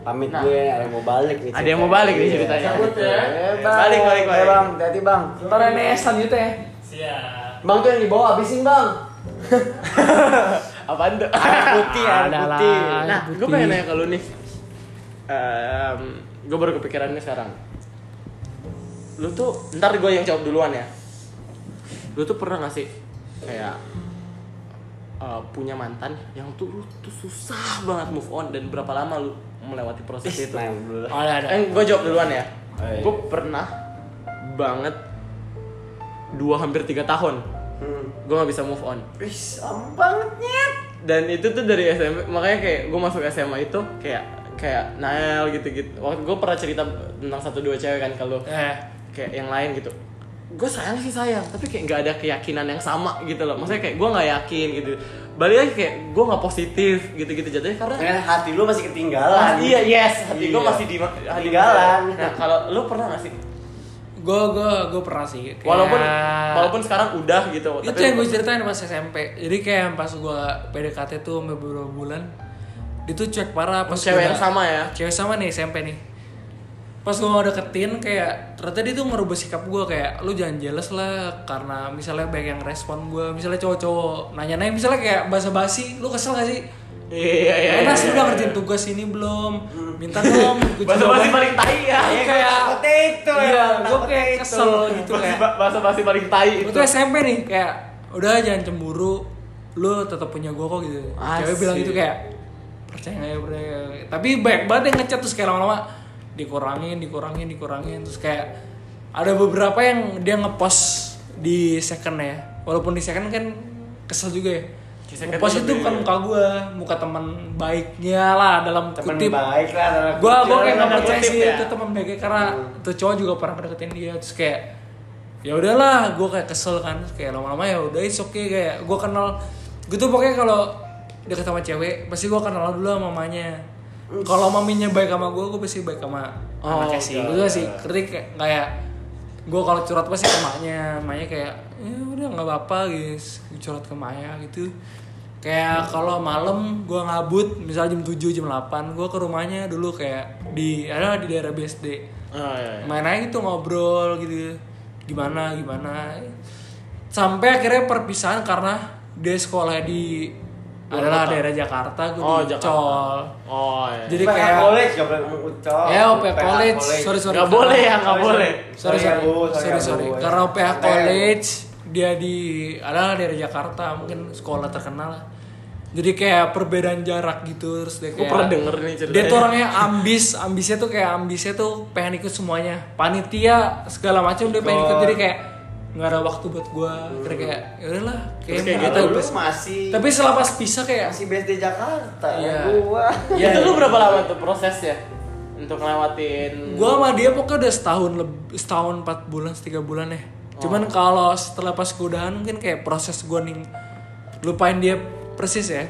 Speaker 2: Pamit
Speaker 1: Nah.
Speaker 2: gue ada yang mau balik nih.
Speaker 1: Ada yang mau balik nih
Speaker 2: Iya.
Speaker 1: ceritanya.
Speaker 2: Cabut ya.
Speaker 1: Eh,
Speaker 2: Bang.
Speaker 1: balik, balik,
Speaker 2: Eh,
Speaker 1: balik.
Speaker 2: Bang, hati bang.
Speaker 3: Ntar NS selanjutnya ya.
Speaker 1: siap
Speaker 2: Bang tuh yang dibawa abisin bang.
Speaker 1: apaan tuh
Speaker 2: air putih, air
Speaker 3: Adalah.
Speaker 2: putih.
Speaker 1: Nah,
Speaker 3: Air
Speaker 1: gue
Speaker 3: putih.
Speaker 1: pengen nanya ke lu nih. gue baru kepikiran nih sekarang. Lu tuh, ntar gue yang jawab duluan ya. Lu tuh pernah gak sih kayak eh, punya mantan yang tuh lu tuh susah banget move on dan berapa lama lu melewati proses itu?
Speaker 2: Nah, dulu lah.
Speaker 3: Ada ada.
Speaker 1: Eh, gue jawab duluan ya.
Speaker 2: Oh, iya.
Speaker 1: Gue pernah banget dua hampir tiga tahun
Speaker 2: Hmm.
Speaker 1: gue nggak bisa move on
Speaker 2: Wih, serem banget nyet.
Speaker 1: dan itu tuh dari SMP makanya kayak gue masuk SMA itu kayak kayak Nael gitu-gitu waktu gue pernah cerita tentang satu dua cewek kan kalau
Speaker 3: Eh,
Speaker 1: kayak yang lain gitu gue sayang sih sayang tapi kayak nggak ada keyakinan yang sama gitu loh maksudnya kayak gue nggak yakin gitu balik lagi kayak gue nggak positif gitu-gitu jatuhnya karena
Speaker 2: Karena hati lu masih
Speaker 3: Ah,
Speaker 2: ketinggalan.
Speaker 1: iya yes hati gue
Speaker 2: Iya.
Speaker 1: masih di
Speaker 2: Ketinggalan.
Speaker 1: nah kalau lu pernah gak sih
Speaker 3: gue gue gue pernah sih. kayak-
Speaker 1: walaupun walaupun sekarang udah gitu
Speaker 3: Ya. itu yang gue ceritain pas SMP. Jadi kayak pas gue PDKT tuh sampai beberapa bulan, itu cuek parah pas
Speaker 1: cewek
Speaker 3: gua-
Speaker 1: yang sama ya
Speaker 3: cewek sama nih SMP nih pas gue mau deketin kayak ternyata dia tuh ngerubah sikap gue kayak lu jangan jealous lah karena misalnya banyak yang respon gue misalnya cowok-cowok nanya-nanya misalnya kayak basa-basi lu kesel gak sih
Speaker 1: iya iya
Speaker 3: Enas
Speaker 1: iya.
Speaker 3: lu udah ngerjain tugas ini belum minta dong gua
Speaker 1: bahasa
Speaker 3: coba.
Speaker 1: basi paling tai ya
Speaker 3: Iya, kayak
Speaker 2: Seperti itu.
Speaker 3: iya gue kayak
Speaker 2: Seperti itu.
Speaker 3: kesel gitu kayak
Speaker 1: bahasa basi paling tai
Speaker 3: itu
Speaker 1: itu
Speaker 3: SMP nih kayak udah jangan cemburu lu tetap punya gue kok gitu cewek
Speaker 1: Asik.
Speaker 3: bilang gitu kayak percaya nggak ya percaya nggak ya?" tapi banyak banget yang ngechat terus kayak lama-lama dikurangin dikurangin dikurangin terus kayak ada beberapa yang dia ngepost di second ya walaupun di second kan kesel juga ya
Speaker 1: Kisah katanya
Speaker 3: ngepost itu bukan
Speaker 1: lebih-
Speaker 3: muka gue muka teman baiknya lah dalam
Speaker 2: teman
Speaker 3: kutip
Speaker 2: Nah, baik lah tanda
Speaker 3: gue
Speaker 2: kutip.
Speaker 3: gue kayak nggak
Speaker 1: tanda
Speaker 3: percaya
Speaker 1: kutip
Speaker 3: sih
Speaker 1: ya. Hmm.
Speaker 3: itu teman baiknya karena tuh cowok juga pernah deketin dia terus kayak ya udahlah gue kayak kesel kan Terus kayak lama-lama ya udah it's okay kayak gue kenal gue tuh pokoknya kalau deket sama cewek pasti gue kenal dulu sama mamanya kalau maminya baik sama gue gue pasti baik sama
Speaker 1: Oh,
Speaker 3: anaknya sih
Speaker 1: oke.
Speaker 3: gue sih ketik kayak- kayak gue kalau curhat pasti ke maknya maknya kayak ya udah nggak apa-apa guys Gua curhat ke Maya gitu kayak kalau malam gue ngabut misal jam 7 jam 8 gue ke rumahnya dulu kayak di ada di daerah BSD
Speaker 1: Oh, iya, iya.
Speaker 3: main aja gitu ngobrol gitu gimana gimana sampai akhirnya perpisahan karena dia sekolah di
Speaker 1: Luar
Speaker 3: adalah
Speaker 1: kota.
Speaker 3: daerah Jakarta gue
Speaker 1: Oh,
Speaker 3: di
Speaker 1: Jakarta.
Speaker 3: Col
Speaker 1: Oh, iya.
Speaker 3: Jadi
Speaker 2: PH
Speaker 3: kayak-
Speaker 2: college gak boleh ngucap.
Speaker 3: ya OPH college sorry sorry
Speaker 1: Nggak boleh ya, nggak boleh.
Speaker 3: sorry
Speaker 2: Sorry,
Speaker 3: sorry
Speaker 2: Bu, sorry,
Speaker 3: sorry
Speaker 2: Bu.
Speaker 3: sorry karena UPH
Speaker 2: Santai.
Speaker 3: College dia di adalah dari Jakarta mungkin sekolah terkenal lah. jadi kayak perbedaan jarak gitu terus dia
Speaker 1: Gue
Speaker 3: kayak
Speaker 1: pernah denger nih
Speaker 3: dia
Speaker 1: ceritanya.
Speaker 3: tuh orangnya ambis ambisnya tuh kayak ambisnya tuh pengen ikut semuanya panitia segala macam dia pengen ikut
Speaker 2: Ikut.
Speaker 3: jadi kayak nggak ada waktu buat gua Akhirnya kayak ya udahlah
Speaker 1: Terus
Speaker 3: kayak
Speaker 1: kayak
Speaker 3: kita
Speaker 1: gitu.
Speaker 2: Lu
Speaker 3: bes-
Speaker 2: Nah, masih
Speaker 3: tapi selepas pisah kayak
Speaker 2: masih BSD Jakarta.
Speaker 3: Iya.
Speaker 2: Gua.
Speaker 1: Itu lu berapa lama tuh prosesnya? Untuk ngelewatin
Speaker 3: Gua sama dia pokoknya udah setahun lebih setahun 4 bulan tiga bulan ya. Cuman
Speaker 1: Oh.
Speaker 3: kalau setelah pas kudahan mungkin kayak proses gua nih lupain dia persis ya.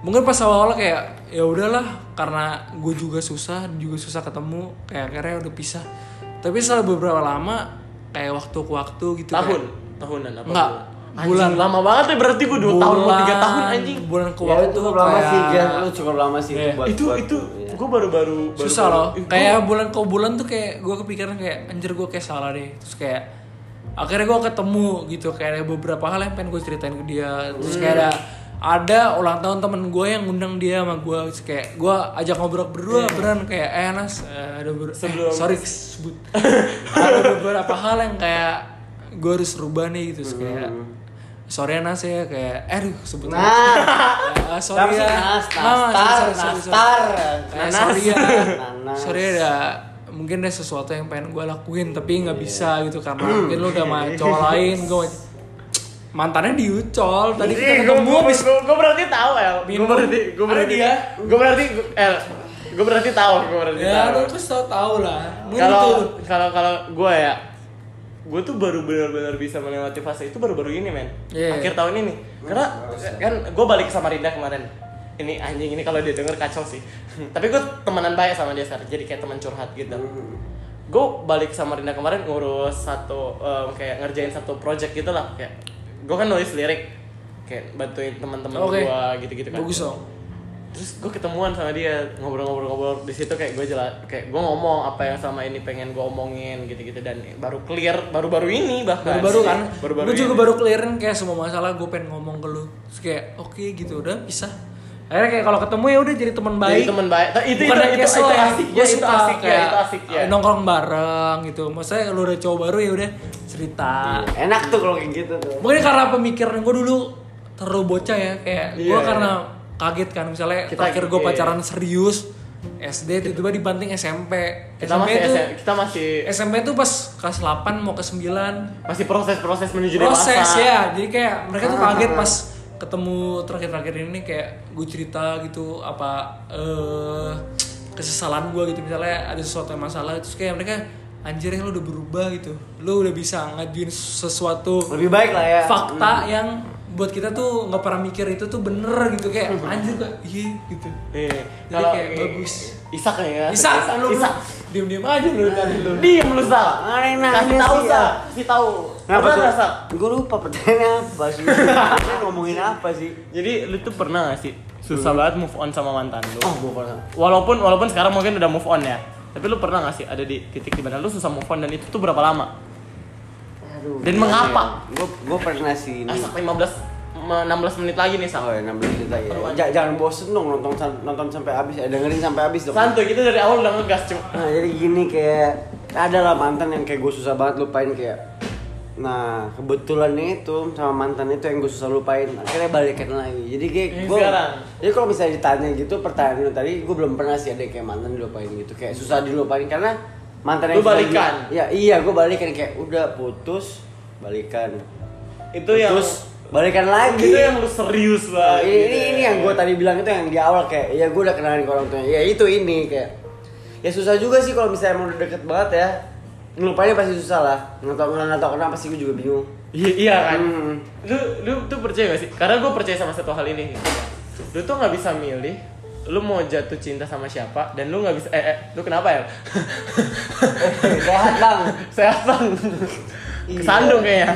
Speaker 3: Mungkin pas awal-awal kayak ya udahlah karena gue juga susah, dia juga susah ketemu, kayak akhirnya udah pisah. Tapi setelah beberapa lama kayak waktu ke waktu gitu
Speaker 1: tahun,
Speaker 3: kayak-
Speaker 1: tahunan apa?
Speaker 3: Enggak,
Speaker 1: Anjing,
Speaker 3: bulan.
Speaker 1: lama banget ya berarti gue 2 tahun mau 3 tahun anjing.
Speaker 3: Bulan ke
Speaker 2: Ya,
Speaker 3: waktu
Speaker 2: itu cukup lama
Speaker 3: kayak-
Speaker 2: sih, Jan. Lu cukup lama sih
Speaker 3: Iya.
Speaker 2: buat
Speaker 1: itu
Speaker 2: buat-
Speaker 1: itu
Speaker 2: iya.
Speaker 1: gue baru-baru baru-
Speaker 3: susah
Speaker 1: baru-
Speaker 3: loh
Speaker 1: Ih, gua-
Speaker 3: kayak bulan ke bulan tuh kayak gue kepikiran kayak anjir gue kayak salah deh terus kayak akhirnya gue ketemu gitu kayak ada beberapa hal yang pengen gue ceritain ke dia terus kayak ada ada ulang tahun temen gue yang ngundang dia sama gue terus kayak gue ajak ngobrol berdua beran kayak eh Nas eh, ada ber- eh,
Speaker 1: Iya. Sebelum-
Speaker 3: sorry sebut ada beberapa hal yang kayak gue harus rubah nih gitu terus kayak
Speaker 1: Hmm.
Speaker 3: sorry ya, Nas ya kayak eh aduh sebut
Speaker 2: Nah,
Speaker 3: Eh, sorry ya
Speaker 2: Nas,
Speaker 3: Nah, sorry,
Speaker 2: nastar,
Speaker 3: sorry, sorry, sorry.
Speaker 2: nastar.
Speaker 3: Kayak sorry ya,
Speaker 2: Nanas.
Speaker 3: sorry ya, ada mungkin ada sesuatu yang pengen gue lakuin tapi
Speaker 1: Iya.
Speaker 3: nggak bisa gitu karena mungkin lu udah sama cowok lain gue mantannya di Ucol tadi kita ketemu
Speaker 1: gue
Speaker 3: abis
Speaker 1: gue berarti tahu El
Speaker 3: Minum.
Speaker 1: gue berarti gue
Speaker 3: Ada
Speaker 1: berarti
Speaker 3: dia.
Speaker 1: gue berarti El gue berarti tahu gue berarti
Speaker 3: ya
Speaker 1: tahu
Speaker 3: lu pasti tau tau lah mungkin
Speaker 1: kalau
Speaker 3: itu
Speaker 1: kalau kalau gue ya gue tuh baru benar-benar bisa melewati fase itu baru-baru ini men
Speaker 3: Iya.
Speaker 1: akhir tahun ini karena kan gue balik ke Samarinda kemarin ini anjing ini kalau dia denger kacau sih tapi gue temenan baik sama dia sekarang jadi kayak teman curhat gitu gue balik ke Samarinda kemarin ngurus satu em, kayak ngerjain satu project gitu lah kayak gue kan nulis lirik kayak bantuin teman-teman
Speaker 3: Oke.
Speaker 1: gue gitu-gitu kan
Speaker 3: bagus dong
Speaker 1: terus gue ketemuan sama dia ngobrol-ngobrol-ngobrol di situ kayak gue jelas kayak gue ngomong apa yang sama ini pengen gue omongin gitu-gitu dan baru clear baru-baru ini bahkan
Speaker 3: baru-baru kan
Speaker 1: Nah, baru-baru
Speaker 3: gue juga
Speaker 1: ini.
Speaker 3: baru clearin kayak semua masalah gue pengen ngomong ke lu terus kayak oke gitu udah pisah akhirnya kayak kalau ketemu ya udah jadi teman
Speaker 1: jadi
Speaker 3: baik
Speaker 1: teman baik Tapi itu itu
Speaker 3: Bukan yang
Speaker 1: itu, itu,
Speaker 3: kesel ya,
Speaker 1: asik
Speaker 3: gua
Speaker 1: ya itu
Speaker 3: suka
Speaker 1: asik ya
Speaker 3: kayak
Speaker 1: itu asik ya
Speaker 3: nongkrong bareng gitu maksudnya lu udah cowok baru ya udah cerita
Speaker 2: Nah, Enak tuh kalau kayak gitu tuh.
Speaker 3: mungkin karena pemikiran gue dulu terlalu bocah ya
Speaker 1: Iya,
Speaker 3: kayak gue
Speaker 1: iya.
Speaker 3: karena kaget kan misalnya
Speaker 1: Kita-
Speaker 3: terakhir gue
Speaker 1: iya.
Speaker 3: pacaran serius SD tiba-tiba dibanting SMP
Speaker 1: kita
Speaker 3: SMP
Speaker 1: masih
Speaker 3: itu
Speaker 1: SM kita masih
Speaker 3: SMP tuh pas kelas 8 mau ke 9
Speaker 1: masih proses-proses menuju dewasa
Speaker 3: proses ya jadi kayak mereka
Speaker 1: Ah,
Speaker 3: tuh kaget pas ketemu terakhir-terakhir ini kayak gue cerita gitu apa eh kesesalan gue gitu misalnya ada sesuatu yang masalah terus kayak mereka anjir ya lu udah berubah gitu lu udah bisa ngajuin sesuatu
Speaker 2: Lebih baik lah ya.
Speaker 3: fakta yang buat kita tuh nggak pernah mikir itu tuh bener gitu kayak anjir kok iya gitu
Speaker 1: Iya.
Speaker 3: Jadi kayak bagus.
Speaker 1: Isak nih ya
Speaker 3: bisa lu
Speaker 1: Isak
Speaker 3: diem diem aja lu tadi lu Nah, iya
Speaker 1: diem lu Sal
Speaker 2: Ada yang nanya
Speaker 1: kasih tahu
Speaker 2: sih, ya.
Speaker 1: Sal kasih tahu
Speaker 2: Kenapa
Speaker 1: Pernah
Speaker 2: tuh?
Speaker 1: nggak, Sal?
Speaker 2: Gue lupa pertanyaannya apa sih. Kita ngomongin apa sih?
Speaker 1: jadi lu tuh pernah gak sih susah banget move on sama mantan lu
Speaker 2: Oh, gue pernah.
Speaker 1: walaupun walaupun sekarang mungkin udah move on ya tapi lu pernah gak sih ada di titik dimana lu susah move on dan itu tuh berapa lama
Speaker 2: Aduh.
Speaker 1: Dan mengapa?
Speaker 2: Gue gue pernah sih ini.
Speaker 1: asap 15 me- 16 menit lagi nih
Speaker 2: Oh
Speaker 1: sama
Speaker 2: ya, 16 menit lagi. Ja- jangan bosen dong nonton nonton sampai habis, ya, dengerin sampai habis dong.
Speaker 1: santuy kita dari awal udah ngegas cuma
Speaker 2: Nah jadi gini kayak ada lah mantan yang kayak gue susah banget lupain kayak Nah kebetulan itu sama mantan itu yang gue susah lupain Akhirnya balikan lagi Jadi kayak
Speaker 1: Yang
Speaker 2: gue
Speaker 1: sekarang?
Speaker 2: Jadi kalau misalnya ditanya gitu pertanyaan lu tadi Gue belum pernah sih ada yang kayak mantan dilupain gitu Kayak susah dilupain karena mantan
Speaker 1: Lu
Speaker 2: yang susah di-
Speaker 1: balikan?
Speaker 2: ya, Iya gue balikan kayak udah putus balikan
Speaker 1: itu yang
Speaker 2: Putus, balikan lagi
Speaker 1: Itu yang lu serius
Speaker 2: Nah,
Speaker 1: banget.
Speaker 2: ini, ini, ini yang gue tadi bilang itu yang di awal kayak ya gue udah kenalin ke orang tuanya ya itu ini kayak ya susah juga sih kalau misalnya emang udah deket banget ya ngelupainnya pasti susah lah nggak tau nggak tau kenapa sih gue juga bingung
Speaker 1: Iya, iya kan.
Speaker 2: Hmm.
Speaker 1: Lu lu tuh percaya gak sih? Karena gue percaya sama satu hal ini. gitu. Lu tuh nggak bisa milih lu mau jatuh cinta sama siapa dan lu nggak bisa eh, eh lu kenapa ya
Speaker 2: sehat bang
Speaker 1: sehat bang
Speaker 2: Iya.
Speaker 1: kesandung kayaknya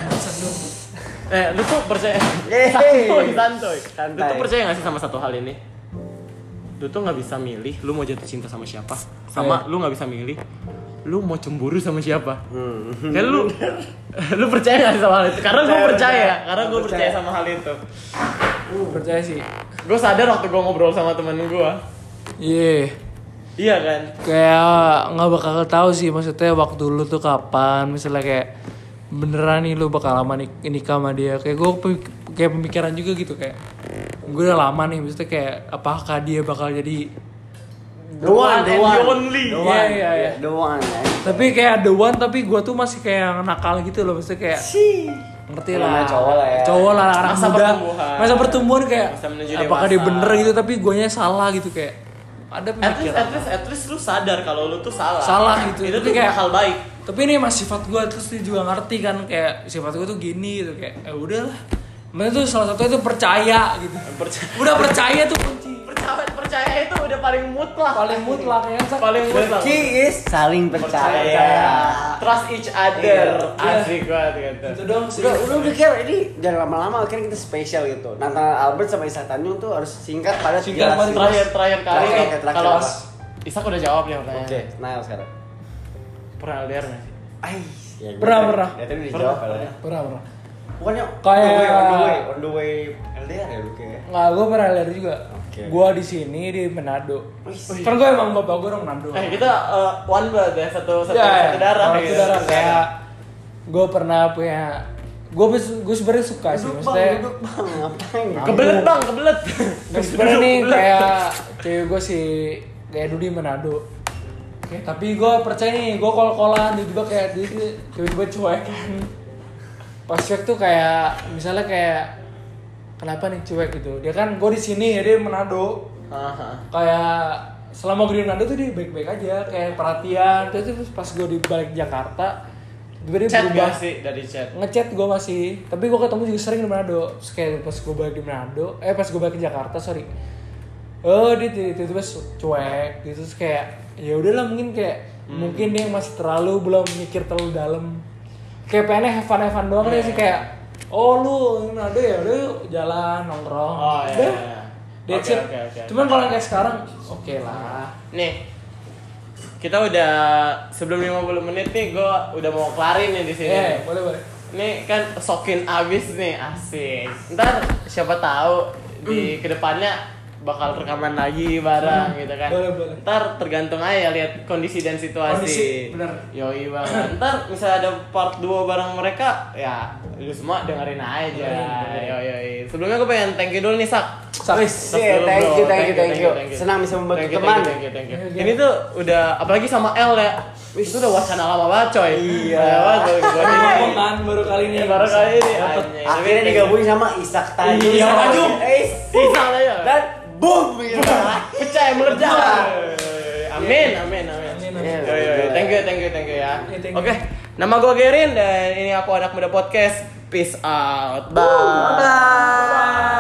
Speaker 1: eh lu tuh percaya
Speaker 2: Yeay.
Speaker 1: santuy santuy lu
Speaker 2: Santai.
Speaker 1: tuh percaya gak sih sama satu hal ini lu tuh nggak bisa milih lu mau jatuh cinta sama siapa
Speaker 2: Eh.
Speaker 1: sama lu nggak bisa milih lu mau cemburu sama siapa Kayak lu lu percaya gak sih sama hal itu? Karena gue
Speaker 2: Hmm. Percaya,
Speaker 1: percaya,
Speaker 2: percaya.
Speaker 1: karena gue
Speaker 2: Percaya.
Speaker 1: percaya sama hal itu.
Speaker 3: Nah, percaya sih
Speaker 1: Gue sadar waktu gue ngobrol sama temen gue.
Speaker 3: iya
Speaker 1: Iya kan?
Speaker 3: kayak nggak bakal tahu sih maksudnya waktu lu tuh kapan misalnya kayak beneran nih lu bakal lama nik- nikah sama dia kayak gue kayak pemikiran juga gitu kayak gue udah lama nih maksudnya kayak apakah dia bakal jadi
Speaker 2: the
Speaker 1: and
Speaker 2: one
Speaker 1: the only.
Speaker 2: the
Speaker 3: Iya,
Speaker 2: one
Speaker 3: iya, iya.
Speaker 2: the one eh.
Speaker 3: tapi kayak the one tapi gue tuh masih kayak nakal gitu loh maksudnya kayak ngerti lah
Speaker 2: Namanya cowok lah ya.
Speaker 3: cowok lah anak
Speaker 1: Masa
Speaker 3: muda
Speaker 1: pertumbuhan.
Speaker 3: masa pertumbuhan kayak
Speaker 1: Masa menuju
Speaker 3: apakah dia
Speaker 1: dewasa.
Speaker 3: bener gitu tapi guanya salah gitu kayak
Speaker 1: At
Speaker 3: ada
Speaker 1: least, at
Speaker 3: pemikiran
Speaker 1: least, at least lu sadar kalau lu tuh salah.
Speaker 3: Salah gitu.
Speaker 1: Itu
Speaker 3: Tapi
Speaker 1: tuh
Speaker 3: kayak-
Speaker 1: hal baik.
Speaker 3: tapi ini emang sifat gue terus dia juga ngerti kan kayak sifat gue tuh gini gitu kayak ya udahlah Makanya tuh salah satunya tuh percaya gitu
Speaker 1: Percaya,
Speaker 3: udah percaya tuh kunci
Speaker 1: percaya, percaya itu udah paling mutlak.
Speaker 3: paling mutlak ya Sak.
Speaker 1: Paling mutlak.
Speaker 2: Key is saling
Speaker 1: Percaya.
Speaker 2: percaya
Speaker 1: Trust each other. Asik banget
Speaker 3: Iya. itu
Speaker 1: gitu.
Speaker 3: dong sih
Speaker 2: udah udah udah Kel, ini jangan lama-lama akhirnya kita spesial gitu Nathan Albert sama Isa Tanjung tuh harus singkat pada
Speaker 3: Singkat
Speaker 2: tiga
Speaker 3: pada
Speaker 2: lasin.
Speaker 1: Terakhir, terakhir kali.
Speaker 2: Terakhir, terakhir, terakhir
Speaker 1: Kalau
Speaker 2: apa?
Speaker 1: Isak udah jawab nih
Speaker 2: oke
Speaker 1: pertanyaan.
Speaker 2: Nail sekarang
Speaker 1: Pernah LDR gak sih?
Speaker 2: Ya, gue
Speaker 3: Pernah,
Speaker 2: tadi-
Speaker 3: pernah.
Speaker 2: ya, tadi udah
Speaker 1: Pernah,
Speaker 2: dijawab
Speaker 1: pernah.
Speaker 2: Pel, ya.
Speaker 3: pernah pernah
Speaker 2: Bukannya
Speaker 3: Kayak-
Speaker 2: on the way, on the way, on the way LDR ya lu kayak.
Speaker 3: nggak gue pernah lihat juga
Speaker 2: Oke.
Speaker 3: gue di sini di Manado
Speaker 2: Wih.
Speaker 3: kan gue emang bapak gue orang Manado
Speaker 1: Eh kita uh, one blood ya, satu, satu, satu darah.
Speaker 3: orang
Speaker 1: gitu.
Speaker 3: Iya, saudara. kayak gue pernah punya gue gue sebenarnya suka sih
Speaker 2: Duduk bang,
Speaker 3: maksudnya
Speaker 2: duduk bang, ngapain?
Speaker 1: Kebelet bang, kebelet.
Speaker 3: gue sebenarnya nih kayak cewek gue si kayak Dudi Manado tapi gue percaya nih gue kol kolan dia juga kayak dia tuh tiba-tiba cuek kan pas cuek tuh kayak misalnya kayak kenapa nih cuek gitu dia kan gue di sini ya dia Manado
Speaker 1: Haha.
Speaker 3: kayak selama gue di Manado tuh dia baik-baik aja kayak perhatian terus terus pas gue di balik Jakarta tiba dia
Speaker 1: Chat
Speaker 3: berubah
Speaker 1: gak sih dari chat?
Speaker 3: ngechat gue masih tapi gue ketemu juga sering di Manado Terus kayak pas gue balik di Manado eh pas gue balik ke Jakarta sorry oh dia tiba-tiba su- cuek gitu terus kayak ya udahlah mungkin kayak
Speaker 1: Hmm.
Speaker 3: mungkin dia masih terlalu belum mikir terlalu dalam kayak pengennya have fun have fun doang deh
Speaker 1: Hmm.
Speaker 3: sih kayak oh lu di Manado ya udah yuk jalan nongkrong
Speaker 1: Oh iya.
Speaker 3: Udah.
Speaker 1: iya.
Speaker 3: That's
Speaker 1: Oke,
Speaker 3: it.
Speaker 1: oke, oke.
Speaker 3: Cuman kalau kayak sekarang, oke lah.
Speaker 1: Nih, kita udah sebelum 50 menit nih, gue udah mau kelarin nih di
Speaker 3: Eh,
Speaker 1: sini.
Speaker 3: boleh boleh.
Speaker 1: Nih kan sokin abis nih, asik. Ntar siapa tahu
Speaker 3: Hmm.
Speaker 1: di kedepannya bakal rekaman lagi bareng gitu kan.
Speaker 3: Boleh, boleh.
Speaker 1: Ntar tergantung aja ya, lihat kondisi dan situasi.
Speaker 3: Kondisi, bener.
Speaker 1: Yoi banget. Ntar misalnya ada part 2 bareng mereka, ya lu semua dengerin aja. Yoi yoi. Sebelumnya gue pengen thank you dulu nih Sak.
Speaker 3: Sak.
Speaker 2: Wis, yeah, thank you, thank you, thank you. Senang bisa membantu teman.
Speaker 1: Thank you, thank you, thank you. Ini tuh udah apalagi sama L ya. Itu udah wacana lama banget, coy.
Speaker 2: Iya.
Speaker 1: Lama banget, coy. Gua ini-
Speaker 3: Ngomong kan baru kali ini.
Speaker 1: ini Iya, baru kali ini.
Speaker 2: Dapet.
Speaker 1: anjing.
Speaker 2: Akhirnya
Speaker 1: Tapi-
Speaker 2: digabungin sama Isak Tanjung.
Speaker 1: Iya,
Speaker 2: Isak
Speaker 1: Tanjung.
Speaker 2: Eh,
Speaker 1: Bisa lah ya.
Speaker 2: Dan boom gitu.
Speaker 1: Pecah meledak. Amin, amin, amin.
Speaker 3: Amin, amin.
Speaker 1: Yo, yo, yo. Thank you, thank you, thank you ya.
Speaker 3: Iya, thank you.
Speaker 1: Oke, nama gue Gerin dan ini aku anak muda podcast. Peace out. Bye.
Speaker 2: Bye.